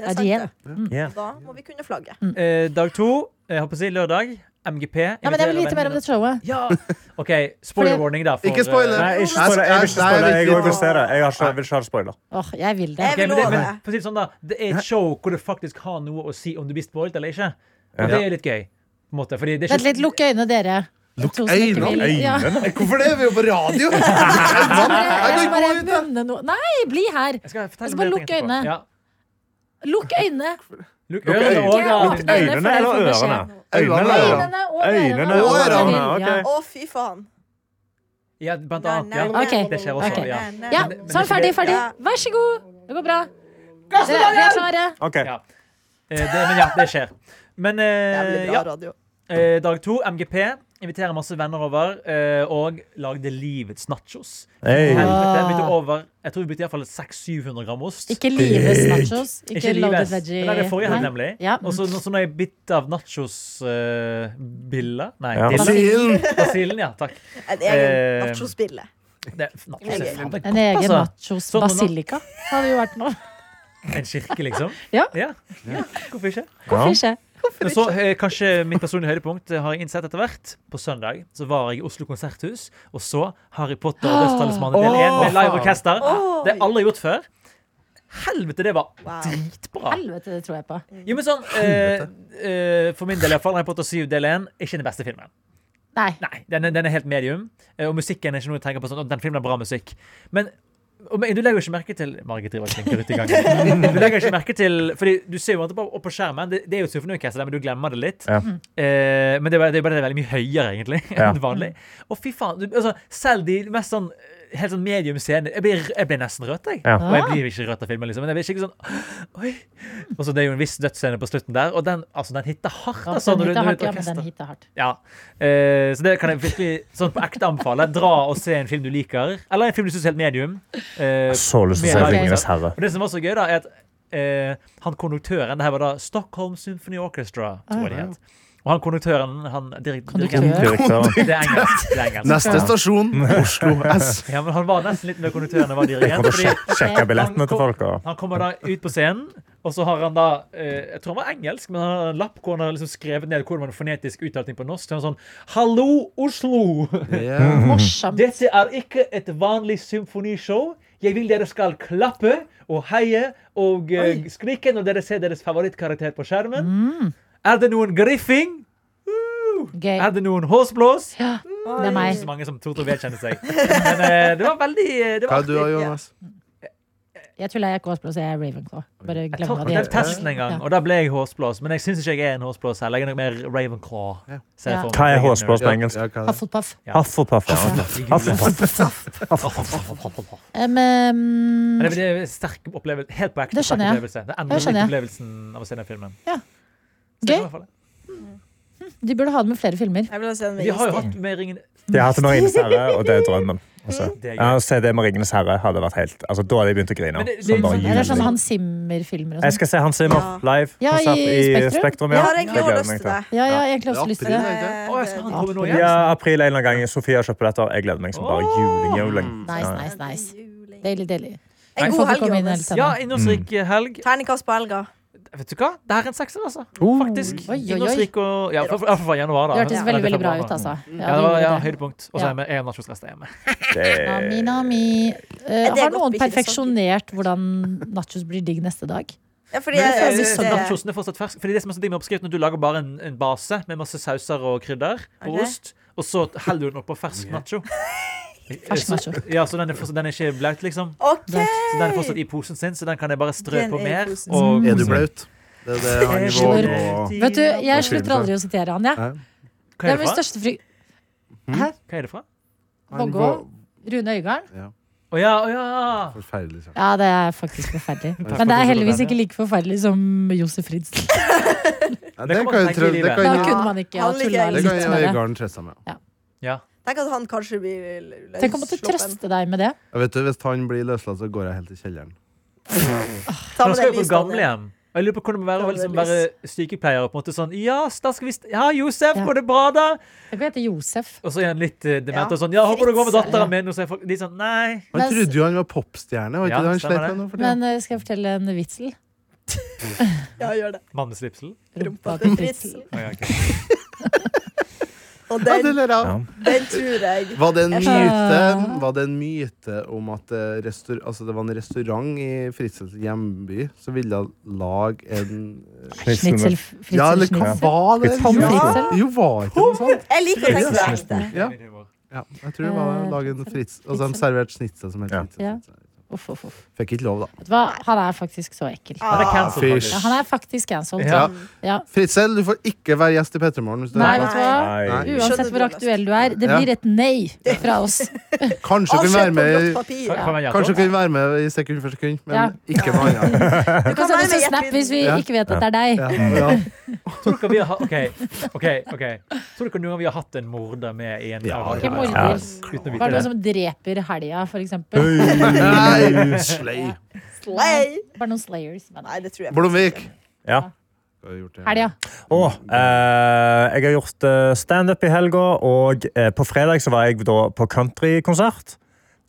er Adrien. sant, Ja. det. Da må vi kunne flagget. Mm. Eh, dag to, jeg holdt på å si lørdag. MGP. Ja, men Jeg vil vite mer om det showet. Ja! OK, spoiler Fordi- warning, da. for, Ikke spoiler. eh, Nei, ikke spoiler. Jeg vil ikke spoiler. Jeg også vil se det. Jeg har ikke, vil ikke ha spoiler. Åh, Jeg vil det. Jeg ok, vil men det, love. men, for å si det sånn, da. Det er et show hvor det faktisk har noe å si om du blir spoilt eller ikke. Og det er litt gøy. På en måte, fordi det er Vent ikke litt, lukk øynene, dere. Lukk To som ikke øynene? vil- Ja. Hvorfor det? Vi er jo på radio! Jeg Jeg skal kan bare ikke gå ut! munne noe Nei, bli her! Jeg skal fortelle Altså, om bare det lukk etterpå. øynene. Ja. Lukk øynene. Lukk Lukk øynene. øynene. og øynene. Lukk Øynene eller ørene? Øynene eller Øynene ørene? og Øynene ørene. og Ørene, ørene, ja. ok. Å, fy faen. Ja, blant annet. Ja. nei, nei. Det skjer også. Ok. Ja. Ja, Men- men sånn, det er ferdig, ikke ferdig. Ja. Vær så god. Det går bra. Dere, vi er klare. Ok. Ja. Eh, Det, men ja, det skjer. Men eh, Jævlig bra ja. radio. Eh, Eh, dag to, MGP. Inviterer masse venner over. Eh, og lagde livets nachos. Hey. Helvete, bytte over, jeg tror vi bytte i hvert fall 600-700 gram ost. Ah. Ikke lives nachos. Ikke, loaded lives. veggie. Det var det forrige helg, Nei. nemlig. Ja. Og så så når jeg bitt av nachos-biller Nei, Ja. dilla. Basillen! Basillen, ja. Takk. En egen Eh, nachospille. Det, nachos er faen meg En egen godt, altså. nachos Sånn, nå- basilica hadde jo vært noe. En kirke, liksom. Ja. ja. ja. Hvorfor ikke? Ja. Hvorfor ikke? Men så eh, kanskje mitt personlige høydepunkt eh, har jeg innsett etter hvert. På søndag så var jeg i Oslo Konserthus og så Harry Potter og Dødstalismannen del 1 med live orkester. Oi. Det har jeg aldri gjort før. Helvete, det var Wow. dritbra. Helvete, det tror jeg på. Jo, men sånn, eh, eh, For min del, i hvert fall Harry Potter 7 del 1 er ikke den beste filmen. Nei. Nei, den, er- den er helt medium. eh, Og musikken er ikke noe jeg tenker på sånn, «Å, den filmen er bra musikk. Men og, men du legger jo ikke merke til Margit driver og klinker ut i gangen. Du legger ikke merke til Fordi du ser jo alltid på, opp på skjermen. Det, det er jo et symfoniorkester, der, men du glemmer det litt. Ja. Eh, men det er bare det er bare veldig mye høyere, egentlig, Ja. enn vanlig. Og fy faen, du, altså, selv de mest sånn Helt sånn medium scene. Jeg blir, jeg blir nesten rødt, jeg. Ja. Og jeg blir ikke rødt av filmen, liksom. Men jeg blir skikkelig sånn Oi. Og så det er jo en viss dødsscene på slutten der, og den, altså, den hitter hardt. Ja, Altså, den når du, hitter når hardt. du Ja, men den orkester. hitter hardt. Ja. Eh, så det kan jeg virkelig sånn på ekte anbefale. Dra og se en film du liker. Eller en film du syns er helt medium. Eh, Så lyst til å Mer se live Ringenes konsert. herre. og det som var så gøy, da, er at eh, han konduktøren Det her var da Stockholm Symphony Orchestra, tror jeg det het. Og han konduktøren, han direkt, Konduktør. direkt- Direktøren. Det er engelsk. Det er engelsk. Neste stasjon, Oslo S. Ja, men han var nesten litt med konduktøren og var Jeg dirigent. kommer Fordi til å sjekke billettene til folk. Og. han kommer da ut på scenen, og så har han da eh, Jeg tror han var engelsk, men han har en lapp hvor han har liksom skrevet ned hvordan man fonetisk uttaler ting på norsk. Så han er sånn Hallo, Oslo! Yeah. Morsomt. Dette er ikke et vanlig symfonishow. Jeg vil dere skal klappe og heie og eh, skrike når dere ser deres favorittkarakter på skjermen. Mm. Er det noen griffing? Gøy. Er det noen håsblås? Ja, det er Ikke meg. så mange som tror til å vedkjenne seg. Men eh, det var veldig eh, det Hva var er du da, Jonas? Jeg tuller, jeg er ikke Åsblå, så jeg er Ravenclaw. Bare Jeg glem tok hva de den heter. testen en gang, og da ble jeg håsblås. Men jeg syns ikke jeg er en håsblås heller. Jeg er nok mer Ravenclaw. ser Ja. jeg for meg. Hva er hårsblås på engelsk? Ja, hva er det? Hufflepuff. Hufflepuff. ja. Hufflepuff. Um, um, Men det det er en sterk opplevelse. Helt på ekte. Det skjønner sterk jeg. opplevelse. Det Det endrer skjønner litt jeg. opplevelsen av å se den filmen. gøy. I hvert fall. De burde ha det med flere filmer. Jeg vil ha se den med Vi har jo istid. hatt med Ringen De har hatt det med Ringenes herre, og det er drømmen. Altså. Det er gøy. Ja, å se det med Ringenes herre hadde vært helt altså, Da hadde jeg begynt å grine. Men det- det er Som bare sånn- Eller sånn jul. Hans Zimmer-filmer og Jeg sånn. skal se Hans Zimmer Ja. live Ja, i konsert i Spektrum. Spektrum. Jeg Ja. har egentlig Det gleder òg jeg lyst meg til det. Ja, ja, jeg har egentlig også lyst til det. April, er det Å, jeg skal han det- komme nå April. igjen? Ja, april en eller annen gang. Sofie har kjøpt billetter, og jeg gleder meg som bare juling. juling. Nice, Ja. nice, nice. Juling. Deilig, deilig. Nei, En god Folk får helg, komme inn Johannes. hele tiden. Ja, innholdsrik Mm. helg. Terningkast på helga. Vet du hva? Det her er en sekser, altså. Oh. Faktisk. Oi, oi, oi. Innholdsrik og Ja, i hvert fall fra januar, Det da. hørtes veldig veldig bra ut, altså. Ja, det var ja, gjorde det. høydepunkt. Og så er jeg med en nachosrest hjemme. Det, Nami, nami. Eh, Er det har godt noen med ikke perfeksjonert hvordan nachos blir digg neste dag? Ja, fordi jeg, Men det jeg er- synes så det Nachosen er fortsatt fersk. Fordi det som er så digg med oppskriften, er at du lager bare en, en base med masse sauser og krydder og Ok. ost, og så heller du den oppå fersk nacho. Fersk nacho. Ja, så den er, fortsatt, den er ikke blaut, liksom. OK! Så den er fortsatt i posen sin, så den kan jeg bare strø Den på er i mer. posen. Og Er du blaut? Det er det han Jeg våger skjønner. å Vet du, jeg slutter aldri å sitere han, jeg. Hæ? Hva Det er er det min fra? største frykt. Hæ? Hva er det fra? Han Vågå? var- Rune Øygarden? Å ja, å ja! Forferdelig sang. Ja, det er faktisk forferdelig. Men det er heldigvis ikke like forferdelig som Josef Fritz. Ja, Det det kan kommer til å jeg tro- tenke i det livet. kan Da jeg- kunne man ikke ha Han liker tulla jeg. det litt kan jeg og med det. Øygarden trøste seg med. ja. Tenk at han kanskje blir løs- Tenk om å sluppen. trøste deg med det. Ja, vet du, Hvis han blir løslatt, så går jeg helt i kjelleren. Ta Nå med det skal vi på lyset, Daniel. gamlehjem. Og Jeg lurer på hvordan det må være å liksom Ta med være det sykepleier. og på en måte sånn, Ja, da skal vi st ja, Josef, Ja. går det bra, da? Det kan hete Josef. Og så er han litt eh, Ja. dement og sånn. Ja, håper det går med Fritz, datteren min. Og så er folk de sånn Nei. Han Men- trodde jo han var popstjerne. Var ikke Ja, det han stemmer slet det. med nå for tiden? Men eh, skal jeg fortelle en vitsel? Ja, gjør det. Mann med slipsel. til Rumpa til Fritz. Fritzel. Å, ja, ok. Og Ja, det den, ler jeg av. Ja. den tror jeg. Var det en myte Ah. Var det en myte om at eh, restaur, altså det var en restaurant i Fritzels hjemby som ville lage en Schnitzel. Fritzel, Ja, eller hva schnitzel. var det? Tom Fritzel? Jo, var ikke det noe sånt? Jeg liker å tenke på det. Ja, jeg tror det var å lage en Fritz Og så har altså, de servert snitsel som Ja. heter Ja. Fritzel. Uff, uff, uff. Fikk ikke lov, da. Vet du hva? Han er faktisk så ekkel. Han er cancelled, fysj. Ja, faktisk. han er faktisk cancelled. Ja. Ja. Fritzel, du får ikke være gjest i P3 Morgen. hvis du Nei, hører vet du hva? Nei. Nei. Uansett hvor aktuell du er, det blir et nei fra oss. på. Kanskje du kan Avskjed på være med blått i- papir. Kan- kan man gjette Kanskje oss? du kan være med i sekund for sekund, men Ja. ikke med andre. Du kan sende oss en Ja. snap hvis vi Ja. ikke vet at det er deg. Ja. Ja. Tror dere vi har, ok, ok, ok. Tror dere noen gang vi har hatt en morder med i en Ja, avhør? ja, Ikke morder. Ja, Hva Uten å er det vite det. som dreper helga, for eksempel? Nei, slay. Slay. Bare noen slayers. Men. Nei, det tror jeg Blomvik. faktisk ikke. Ja. Helga. Å, eh, jeg har gjort eh, standup i helga, og eh, på fredag så var jeg da på countrykonsert.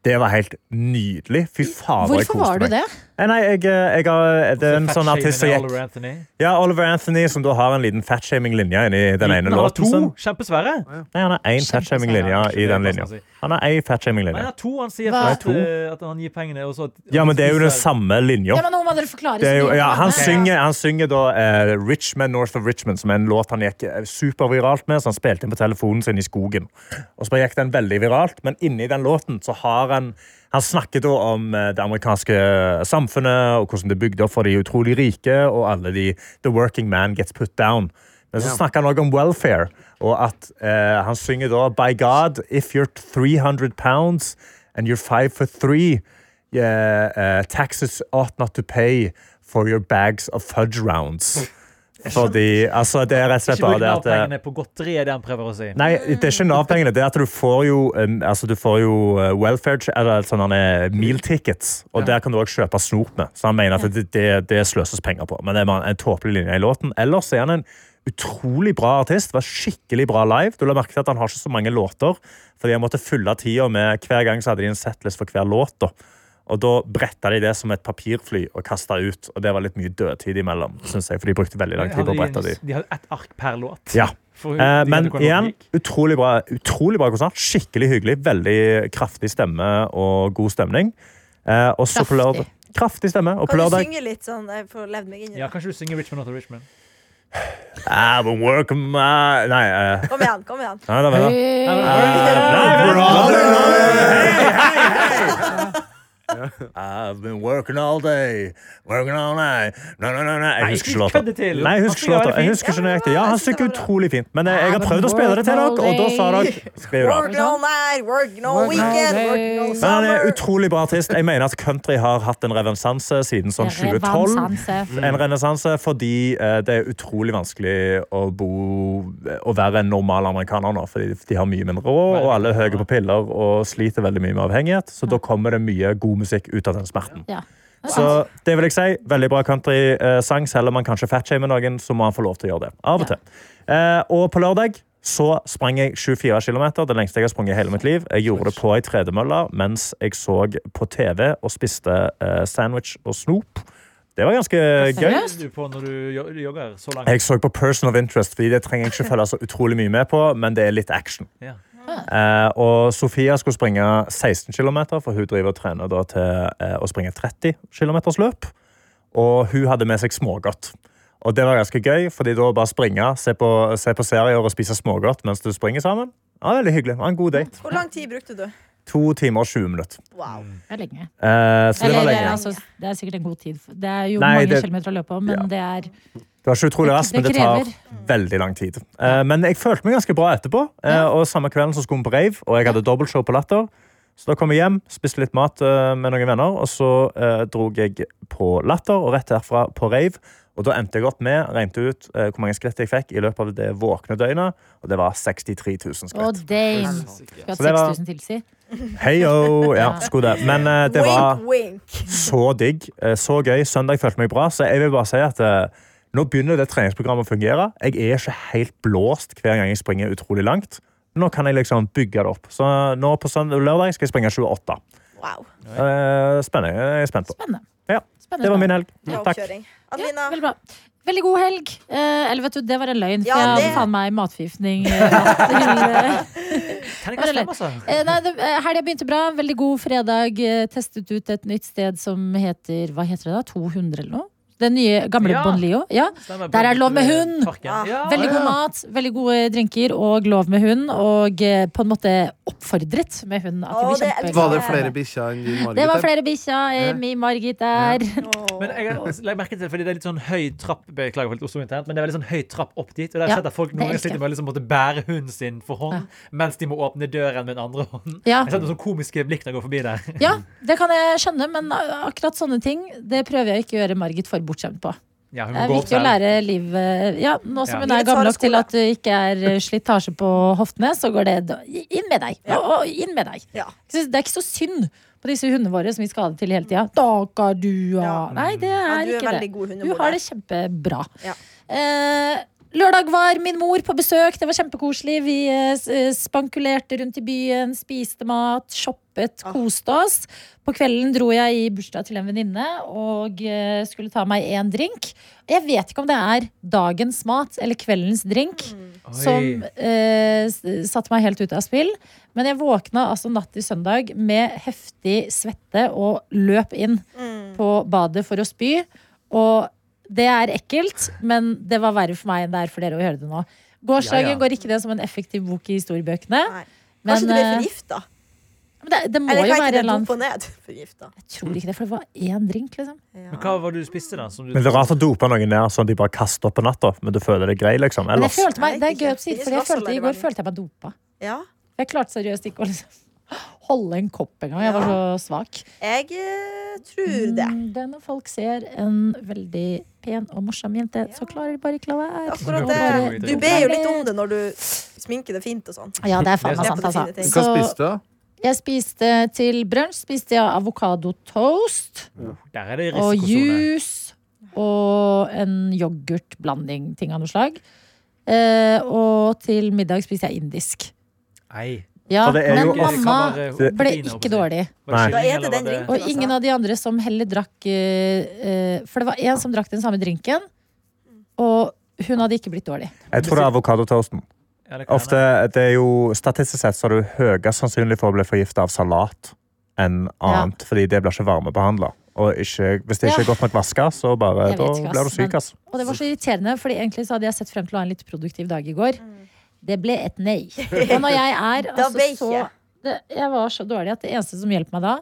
Det var helt nydelig. Fy faen, hvor jeg Hvorfor koste var du meg. det? Eh, Nei, jeg, eh, jeg har, det er en sånn artist som gikk Altså, Oliver Anthony. Ja, Oliver Anthony, som da har en liten fatshaming-linje inni den ene Liten, han har låten to sin. kjempesvære. Nei, han har én fatshaming-linje i den linja. Nei, Han har én han fatshaming-linje. har to. Han sier Hva? først eh, at han gir pengene, og så at- Ja, men det er jo den samme linja. Ja, men nå må dere forklare Det er jo, så mye. ja, han, Ok. synger, han synger da eh, Richmond North of Richmond, som er en låt han gikk eh, superviralt med, så han spilte inn på telefonen sin i skogen. Og så gikk den veldig viralt, men inni den låten så har han Han snakker da om eh, det amerikanske samfunnet og hvordan det er bygd opp for de utrolig rike, og alle de The working man gets put down. Men så snakker han også om welfare, og at eh, han synger da By God, if you're 300 pounds and you're five for three yeah, uh, taxes ought not to pay for your bags of fudge rounds. Fordi, altså, det er rett og slett Ikke bruk bare det at eh, Nav-pengene på godteri, er det han prøver å si. Nei, det er ikke Nav-pengene. Det er at du får jo, um, altså, du får jo uh, welfare che- eller sånne meal tickets, og der kan du også kjøpe snop med. Så han mener at det, det, det sløses penger på. Men det er bare en tåpelig linje i låten. Ellers er han en utrolig bra artist. Var skikkelig bra live. Du la merke til at han har ikke så mange låter, fordi han måtte fylle tida med Hver gang så hadde de en setlist for hver låt. da. Og da bretta de det som et papirfly og kasta ut. Og det var litt mye dødtid imellom, synes jeg, for de brukte veldig lang tid på å brette de. De hadde ett ark per låt. Ja. For- Eh, de men vet hvordan igjen, det gikk. utrolig bra, utrolig bra konsert. Skikkelig hyggelig. Veldig kraftig stemme og god stemning. Eh, og så på Kraftig. lørdag Kraftig stemme. Og på Kan du lørdag synge litt sånn? Jeg får levd meg inn i Ja, det. kanskje du synger Richmond Not a Richmond? I've been working my Nei, eh, Kom igjen, kom igjen. nei, da, vent da. Eh, Eh, I've been working all day, working all night No, no, no, no. Jeg husker ikke du låta. kødder til. Nei, jeg Han husker ikke synger låta. Jeg veldig husker fint. ikke nøyaktig. Ja, Ja, han det var- synger utrolig fint. Men eh, jeg, jeg har I've prøvd å been spille det til dere, working og da sa all dere Skriv det. Working all night, working all Working all weekend, day. working all Men han er summer. utrolig bra artist. Jeg mener at country har hatt en revensanse siden sånn 2012. En renessanse fordi eh, det er utrolig vanskelig å bo eh, Å være en normal amerikaner nå, fordi de har mye mindre råd, og alle er høye på piller og sliter veldig mye med avhengighet. Så da kommer det mye god musikk ut av den smerten. Ja. Så det vil jeg si, veldig bra country-sang. Selv om man kanskje fatshamer noen, så må han få lov til å gjøre det. Av og Ja. til. Eh, og på lørdag så sprang jeg 24 km, det lengste jeg har sprunget i hele mitt liv. Jeg gjorde det på ei tredemølle mens jeg så på TV og spiste eh, sandwich og snop. Det var ganske gøy. Seriøst? Du på når du jo- jogger så langt. Jeg så på Person of Interest, fordi det trenger jeg ikke følge så utrolig mye med på, men det er litt action. Ja. Eh, og Sofia skulle springe 16 km, for hun driver og trener da til eh, å springe 30 km løp. Og hun hadde med seg smågodt. Og det var ganske gøy, fordi da bare springe, se på, se på serier og spise smågodt mens du springer sammen. Ja, veldig hyggelig. Det var en god date. Hvor lang tid brukte du? To timer og 20 minutter. Wow. Mm. Det er lenge. Eh, så det var Eller, lenge. altså, det er sikkert en god tid. Det er jo Nei, mange det- kilometer å løpe om, men Ja. det er Det var ikke utrolig Det- raskt, men det det tar veldig lang tid. Eh, men jeg følte meg ganske bra etterpå, eh, og samme kvelden så skulle vi på rave, og jeg hadde dobbeltshow på Latter. Så da kom jeg hjem, spiste litt mat eh, med noen venner, og så eh, dro jeg på Latter, og rett herfra på rave. Og da endte jeg opp med, regnet ut eh, hvor mange skritt jeg fikk i løpet av det våkne døgnet, og det var 63 000 Å, skritt. dame! Skulle hatt Så det var- 6000 tilsi. Heio! Ja, Ja. skulle det. Men eh, det var Wink, wink. så digg, eh, så gøy. Søndag følte meg bra, så jeg vil bare si at eh, nå begynner det treningsprogrammet å fungere. Jeg er ikke helt blåst hver gang jeg springer utrolig langt. Nå kan jeg liksom bygge det opp. Så nå på søndag, lørdag skal jeg springe 28. Wow. Eh, Spennende. Jeg er spent på. Spennende. Ja, Spennende. det var min helg. Bra Takk. oppkjøring. Ja, Adelina, veldig bra. Veldig god helg. Eh, eller vet du, det var en løgn, for Ja, jeg det- hadde faen meg matforgiftning. eh, natt til, eh, Kan jeg ikke stemme, altså? Eh, nei, det- eh, Helga begynte bra. Veldig god fredag. Eh, Testet ut et nytt sted som heter Hva heter det da? 200 eller noe? Den nye, gamle Ja. Bon Leo. Ja. Stemmer, eh, Der er lov med hund. Ah. Parken. Ja, Veldig god ja. mat, veldig gode drinker og lov med hund. Og eh, på en måte oppfordret med hund. At Å, det, blir det kjempe- elsker Var det flere bikkjer enn din Margit? Det var her? flere bikkjer. eh, Ja. Mi Margit der. Åh. Men jeg har lagt merke til, fordi det er litt sånn høy trapp Beklager for litt Oslo internt, men det er veldig sånn høy trapp opp dit. Og der Ja, setter folk det noen ganger elsker jeg. sliter med å liksom måtte bære hunden sin for hånd, mens de må åpne døren med den andre hånden. Ja. Jeg setter noen sånne sånn komiske blikk når jeg går forbi der. ja, det kan jeg skjønne, men eh, akkurat sånne ting Det prøver jeg ikke å gjøre Margit for bortskjemt på. Ja, hun Det er går opp viktig å selv. Eh, lære liv eh, Ja, nå som Ja. hun Livets er harde gammel nok til skole. at det ikke er eh, slitasje på hoftene, så går det da- inn med deg. Ja. Og- og inn med deg. Ja. Jeg synes Det er ikke så synd på disse hundene våre som vi skader til hele tida. Daga du Ja. Nei, det Ja, er du er ikke det. veldig god Du hundemor. har det kjempebra. Ja. Eh, lørdag var min mor på besøk. Det var kjempekoselig. Vi eh, s- eh, spankulerte rundt i byen, spiste mat, shoppet, koste oss. På kvelden dro jeg i bursdag til en venninne og eh, skulle ta meg en drink. Jeg vet ikke om det er dagens mat eller kveldens drink Oi. som eh, s- satte meg helt ut av spill. Men jeg våkna altså natt til søndag med heftig svette og løp inn Mm. på badet for å spy. Og det er ekkelt, men det var verre for meg enn det er for dere å høre det nå. Gårsdagen Ja, ja. går ikke det som en effektiv bok i historiebøkene. Nei. Men, Kanskje du blir eh, forgifta? men det, det må Eller jo kan ikke være en det eller annen opp og ned? Forgifta. Jeg tror ikke det, for det var én drink, liksom. Men hva var det du spiste, da? Som du Men det er rart å dope noen ned sånn at de bare kaster opp på natta, men du føler det grei, liksom. Men jeg Ellers. følte meg, Jeg vet det er gøy ikke. å si, Finnes for jeg vassel følte i i går verden. følte jeg meg dopa. Ja. Jeg klarte seriøst ikke å liksom holde en kopp engang. Jeg var så svak. Jeg eh, tror det. Mm, det når folk ser en veldig pen og morsom jente, så klarer de bare ikke la være. Akkurat det. bare- Du ber jo litt om det når du sminker det fint og sånn. Ja, det er faen meg Det er sant, på altså. sine ting. Hva spiste du, da? jeg spiste til brunsj spiste jeg avokadotoast Der er det og risikosone. juice og en yoghurtblanding, ting av noe slag. Eh, og til middag spiste jeg indisk. Nei. Ja, Og det er men jo- mamma ble ikke dårlig. Nei. Da er det den drinken. Og ingen av de andre som heller drakk eh, eh, For det var én som drakk den samme drinken, og hun hadde ikke blitt dårlig. Jeg tror det er avokadotoasten. Ofte, det er jo, Statistisk sett så er du høyest sannsynlig for å bli forgifta av salat enn annet, fordi det blir ikke varmebehandla. Og ikke, hvis det ikke er Ja. godt nok vaska, så bare, Jeg da vet ikke, blir du ass, syk. men- ass. Og det var så irriterende, fordi egentlig så hadde jeg sett frem til å ha en litt produktiv dag i går. Det ble et nei. Og når jeg er Mm. Da altså, ble så ikke. det, Jeg var så dårlig at det eneste som hjelper meg da,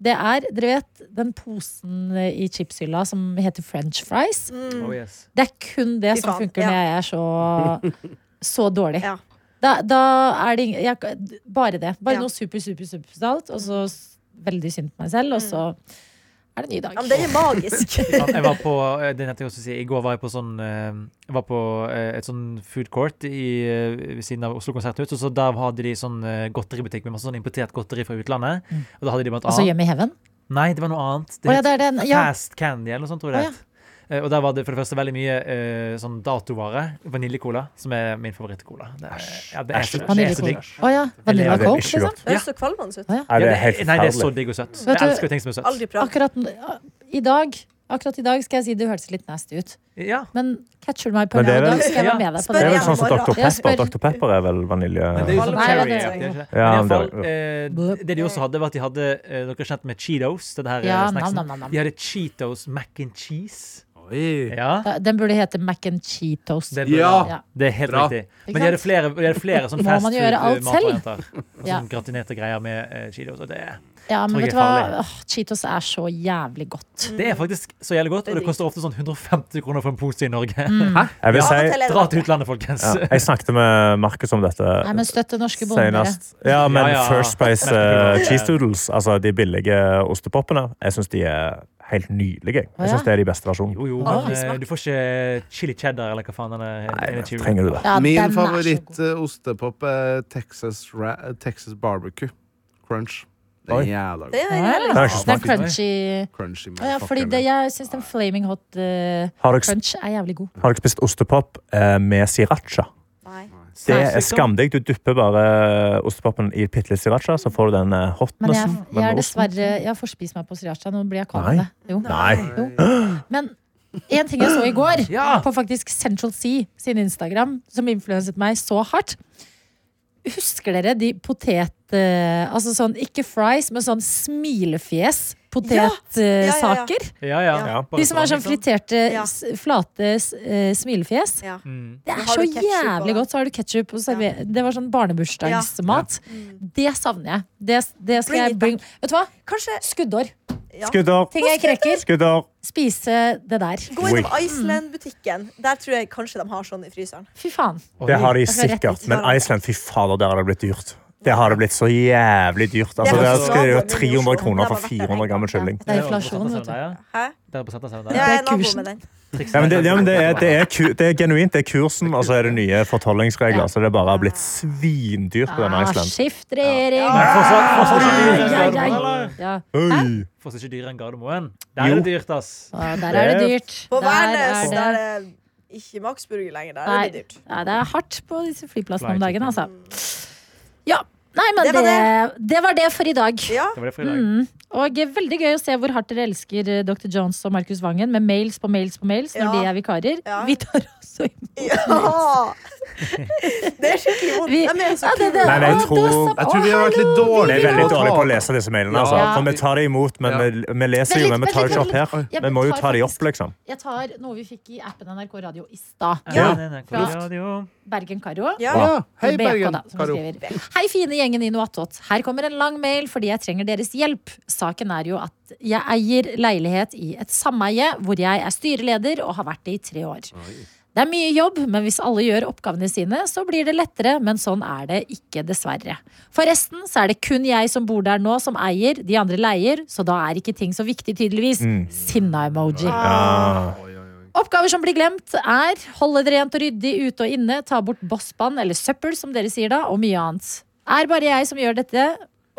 det er dere vet, den posen i chipshylla som heter french fries. Oh, yes. Det er kun det Fy som faen, funker ja. når jeg er så, så dårlig. Ja. Da, da er det ing- jeg, Bare det. Bare Ja. noe super, super, supersalt, og så s- veldig synd på meg selv, og så er det en ny dag. Mm. Ja, men den er magisk. Ja, Jeg var på, eh, det nevnte jeg også å si, i går var jeg på, sånn, eh, jeg var på eh, et sånn food court i, eh, ved siden av Oslo Konserthus, og så der hadde de sånn eh, godteributikk med masse sånn importert godteri fra utlandet. Og da hadde de blant Altså annet Yummy Heaven? Nei, det var noe annet. Å ja, het det er den. Ja. Fast Candy eller noe sånt, tror Å, jeg ja. det het. Eh, Og der var det for det første veldig mye eh, sånn datovare. Vaniljekola, som er min favorittcola. Det er, ja, det er, så- det Æsj. er så Vaniljekola. digg. Å ja. Vanilla Ja, det er Coke, ikke liksom? godt. Det høres så kvalmende ut. Nei, Ja, det er helt nei, det er så forferdelig. digg og søtt. Vet Jeg du- elsker jo ting som er søtt. Aldri prøvd. Akkurat n- ja, i dag Akkurat i dag skal jeg si det hørtes litt nasty ut. Ja. Men catcher du meg på en Men det er annen vel- dag, skal jeg Ja, være med deg på spør Det det. er vel igjen. sånn som bare- Dr. Jeg spør- Pepper. Dr. Pepper er vel vanilje... Men det er jo sånn Nei, det cherry. vet jeg det er ikke det. Men Ja, i alle det- fall, eh, det de også hadde, var at de hadde eh, Dere er kjent med Cheetos? Den her eh, Ja, nam, snacksen. nam, nam, nam. De hadde Cheetos mac and cheese. Oi. Ja, Den burde hete mac and cheetos. det, Ja. Ja. det er helt Bra. riktig. Ikke Men de hadde sant? flere, de hadde flere sånn Må man gjøre alt fastfood-matvarieter. Ja. Sånn gratinerte greier med eh, Cheetos. Og det, er- Ja, men Tror jeg vet du er hva? farlig. Åh, Cheetos er så jævlig godt. det er faktisk så jævlig godt, og det koster ofte sånn 150 kroner for en pose i Norge. Mm. Jeg Av vil og si til er det Dra til det. utlandet, folkens. ja, Jeg snakket med Markus om dette Nei, men støtte norske bonder. dere. senest. Ja, men Ja, ja. First Price Ja. eh, Cheese Doodles, altså de billige ostepoppene, jeg syns de er helt nydelige. Å, ja. Jeg syns det er de beste versjonene. Jo, jo, Åh, men eh, smak. du får ikke chili cheddar eller hva faen den er. den Nei, er chewy. trenger du det? Ja, den er Min så god. favoritt-ostepop er Texas, ra Texas barbecue. Crunch. Det Oi. er jævla Det godt. er jævlig Det er godt. ikke så Den smart. crunchy Crunchy Å ja, fordi motherfucker. det, Jeg syns den flaming hot eh, Har dere, crunch er jævlig god. har dere spist ostepop eh, med sriracha? Nei. Det er Smakssykdom. skamdigg. Du dupper bare eh, ostepopen i bitte litt sriracha, så får du den eh, Men jeg, jeg hotnessen. er med osten. dessverre Jeg har forspist meg på sriracha. Nå blir jeg kvalm av Nei. det. Jo. Nei. Men en ting jeg så i går, Ja. på faktisk Central Sea sin Instagram, som influenset meg så hardt Husker dere de potet... eh, altså sånn, ikke fries, men sånn smilefjes ja, ja. potetsaker. Ja, ja. Ja. Bare De som er sånn, sånn liksom? friterte, Ja. s- flate s- eh, smilefjes. Ja. Mm. Det er Men har så du ketchup jævlig og- godt. Så har du ketsjup og server... Det var sånn barnebursdagsmat. Det savner jeg. Det, det skal Mm. Bring jeg it bring Vet du hva? Kanskje Skuddår. ja. Skudder. Ting jeg krekker. Skudder. Spise det der. Gå innom Iceland-butikken. Der tror jeg kanskje de har sånn i fryseren. Fy faen. Det har de Jeg skal rett sikkert. dit. Men Iceland, fy fader, der har det blitt dyrt. Det har det blitt så jævlig dyrt. Altså, Det er der så skal det bra, jo men i 300 Oslo, kroner der var for det 400 gram med kylling. Det er inflasjon, vet du. Hæ? Dere på Sentersenteret Ja, jeg der? Det er er nabo kursen. med den. Ja, men det, ja, men det, er, det, er ku, det er genuint. Det er kursen, og så er det nye fortollingsregler. Så det bare har blitt svindyrt på denne Ah, Iceland. skift regjering. Men fortsatt, fortsatt ikke dyrere enn Ja, ja, ja. Gardermoen. Ja. Oi. Fortsatt ikke dyrere enn Gardermoen. Der er Jo. det dyrt, ass. Ah, Der er det dyrt. På Der er Værnes det- der er ikke Max Burger lenger. Der er det dyrt. Nei, ja, det er hardt på disse flyplassene Flight, om dagen, ja. altså. Ja. Nei, men Det det var var det, det, var det for i dag. Ja. Det var det for i dag. Mm. Og eh, veldig gøy å se hvor hardt dere elsker eh, Dr. Jones og Markus Vangen med mails på mails på mails Ja. når de er vikarer. Ja. Vi tar også ja. Det er skikkelig vondt. De Vi- er så Ja, det- det- kule. Nei, men jeg Å, tror- det er så- Jeg tror Å, vi har vært litt hallo, Vi dårlige er veldig på å ta dårlige på å lese disse mailene. Altså. Ja. For vi tar dem imot, men vi, vi leser jo, men vi tar jo ikke opp her. Ja, men Vi må jo tar ta dem opp, faktisk- liksom. Jeg tar noe vi fikk i appen NRK Radio i stad. Ja. Nei, nei, nei, Ja. radio. Bergen Karo. Ja. Ja, hei, BK Bergen. da, som Karo. skriver. Hei, fine gjengen i Noatot. Her kommer en lang mail fordi jeg trenger deres hjelp. Saken er jo at jeg eier leilighet i et sameie hvor jeg er styreleder og har vært det i tre år. Det er mye jobb, men hvis alle gjør oppgavene sine, så blir det lettere, men sånn er det ikke, dessverre. Forresten så er det kun jeg som bor der nå, som eier, de andre leier, så da er ikke ting så viktig, tydeligvis. Mm. Sinna-emoji. Ja. Oppgaver som blir glemt er holde det rent og ryddig ute og inne, ta bort bosspann eller søppel, som dere sier da, og mye annet. Er bare jeg som gjør dette,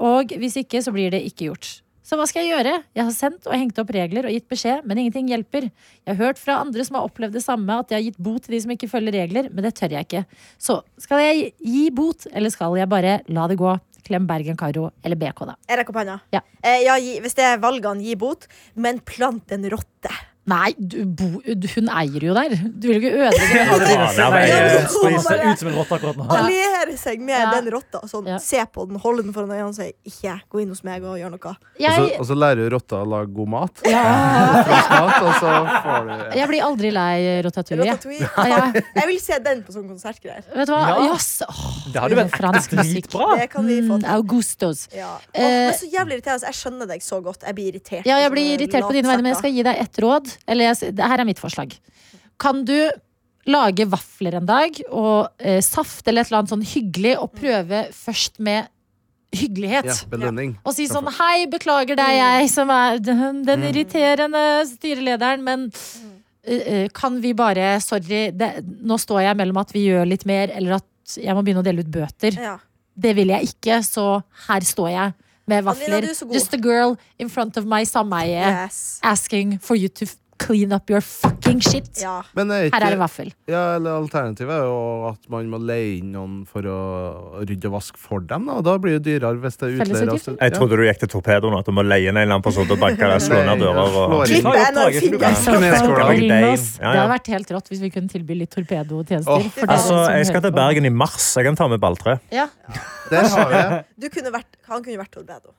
og hvis ikke, så blir det ikke gjort. Så hva skal jeg gjøre? Jeg har sendt og hengt opp regler og gitt beskjed, men ingenting hjelper. Jeg har hørt fra andre som har opplevd det samme, at de har gitt bot til de som ikke følger regler, men det tør jeg ikke. Så skal jeg gi bot, eller skal jeg bare la det gå? Klem Bergen Karo eller BK, da. Jeg rekker opp hånda. Ja. Eh, ja, gi, hvis det er valgene, gi bot. Men plant en rotte. Nei, du, bo, du, hun eier jo der. Du vil jo ikke ødelegge Ja, det er- Ja, Nei, men- Ja, sprit men- ser ut som en rotte akkurat nå. Alliere seg med Ja. den rotta. Sånn, Ja. Se på den, holde den foran øynene og si 'ikke gå inn hos meg og gjør noe'. Og så, Jeg, og så lærer du rotta å lage god mat. ja. Frisk mat, og så får du Jeg blir aldri lei rotatouille. jeg. Ratatouille. Ja, Jeg vil se den på sånn konsertgreier. vet du hva? Ja. Jazz. Åh, Det hadde vært fransk musikk. dritbra. Det kan vi få Mm, til. Augustos. Ja. Åh, Eh, men så jævlig irriterende. altså, Jeg skjønner deg så godt. Jeg blir irritert. Ja, jeg på blir sånne irritert på dine vegne, men jeg latsekker. skal gi deg ett råd. Eller jeg, s- det her er mitt forslag. Kan du lage vafler en dag, og eh, saft eller et eller annet sånn hyggelig, og prøve først med hyggelighet? ja, belønning. Og si sånn Hei, beklager det er jeg som er den, den irriterende styrelederen, men eh, eh, kan vi bare Sorry, det, nå står jeg mellom at vi gjør litt mer, eller at jeg må begynne å dele ut bøter. Ja. Det vil jeg ikke, så her står jeg med Adelina, vafler. du er så god. Just a girl in front of my sameie Yes. asking for you to f- clean up your fucking shit. Ja. Men er Her er det ikke, vaffel. ja, eller alternativet er jo at man må leie inn noen for å rydde og vaske for dem. Da, og da blir det dyrere hvis det er utleier. Fellesutgifter? altså. Jeg trodde du gikk til torpedoen, at du må leie inn en eller annen person til å banke deg, slå ned dører og Slå inn. Vi Klippe tar jo en av oppdraget, så du kan- fingeren. Kunne jeg skåla? Lage deig. Ja, Det ja. hadde vært helt rått hvis vi kunne tilby litt Åh, torpedo-tjenester. for dere Altså, som jeg skal hører til på. Bergen i mars. Jeg kan ta med balltre. Ja. Der har vi det. Du kunne vært, han kunne vært torpedo.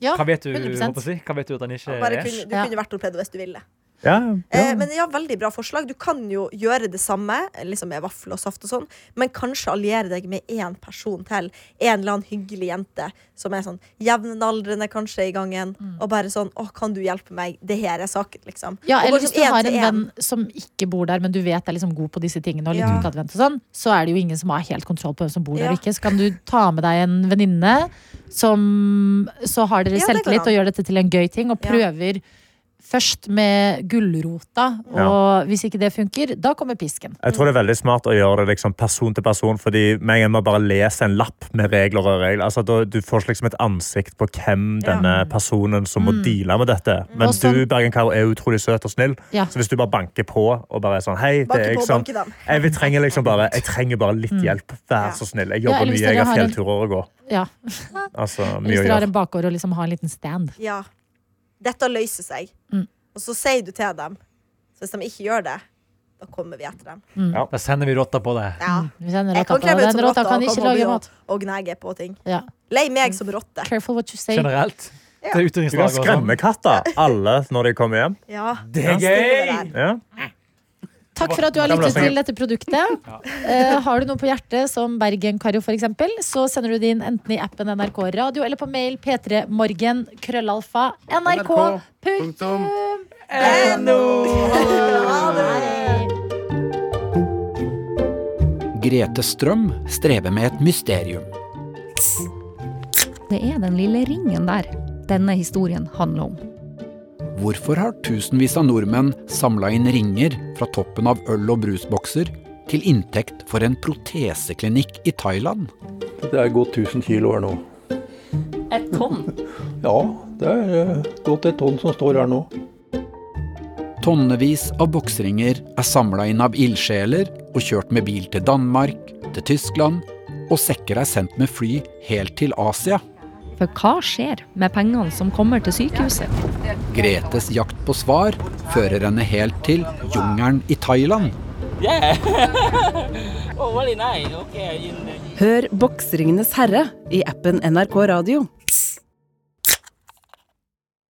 Ja, Hva vet du, 100%. håper jeg å si? Hva vet du at han ikke Bare er? kunne, du Ja. kunne vært torpedo hvis du ville. Ja, Eh, ja. men ja, veldig bra forslag. Du kan jo gjøre det samme liksom med vaffel og saft og sånn, men kanskje alliere deg med én person til. En eller annen hyggelig jente som er sånn jevnaldrende kanskje i gangen, og bare sånn 'Å, kan du hjelpe meg? Det her er saken', liksom. Mm. Ja, Og eller bare hvis sånn du en har til en en. venn som ikke bor der, men du vet er liksom god på disse tingene, og litt Ja. utadvendt og sånn, så er det jo ingen som har helt kontroll på hvem som bor der Ja. og ikke. Så kan du ta med deg en venninne som så har dere Ja, det går selvtillit an. og gjør dette til en gøy ting, og Ja. prøver først med gulrota, og hvis ikke det funker, da kommer pisken. Jeg tror det er veldig smart å gjøre det liksom person til person, fordi med en gang man bare leser en lapp med regler og regler, altså da, du får liksom et ansikt på hvem denne personen som må deale med dette. Men Og sånn- du, Bergen Karo, er utrolig søt og snill, Ja. så hvis du bare banker på og bare er sånn, hei, det Banke er på, liksom, banke dem. jeg vil trenger liksom bare, jeg trenger bare litt hjelp, vær så snill. Jeg Ja, jobber eller hvis mye, jeg dere har har en- fjellturer å gå. Ja. Altså, mye Hvis å dere har gjøre. en bakgård og liksom har en liten stand. Ja. Dette løser seg. Mm. Og så sier du til dem. Så hvis de ikke gjør det, da kommer vi etter Mm. dem. Da sender vi rotta på det. Ja. Hvis en Jeg rotta kan på kle meg ut den som rotta rotte kan og ikke komme lage og, mat. og gnage på ting. Ja. Lei meg som rotte. Careful what you say. Generelt. til Du kan utrydningslaget. og sånn. skremme katter, alle, når de kommer hjem. Ja. Det er gøy! Ja. Takk for at du har lyttet til dette produktet. Eh, har du noe på hjertet, som Bergen-Karo f.eks., så sender du det inn enten i appen NRK Radio eller på mail p3morgen krøllalfa nrk. Punktum. Hei. Grete Strøm strever med et mysterium. Det er den lille ringen der denne historien handler om. Hvorfor har tusenvis av nordmenn samla inn ringer fra toppen av øl- og brusbokser til inntekt for en proteseklinikk i Thailand? Det er gått 1000 kilo her nå. Et tonn. Ja, det er eh, godt et tonn som står her nå. Tonnevis av boksringer er samla inn av ildsjeler og kjørt med bil til Danmark, til Tyskland, og sekker er sendt med fly helt til Asia. For hva skjer med pengene som kommer til sykehuset? Gretes jakt på svar fører henne helt til jungelen i Thailand. Hør Boksringenes herre i appen NRK Radio.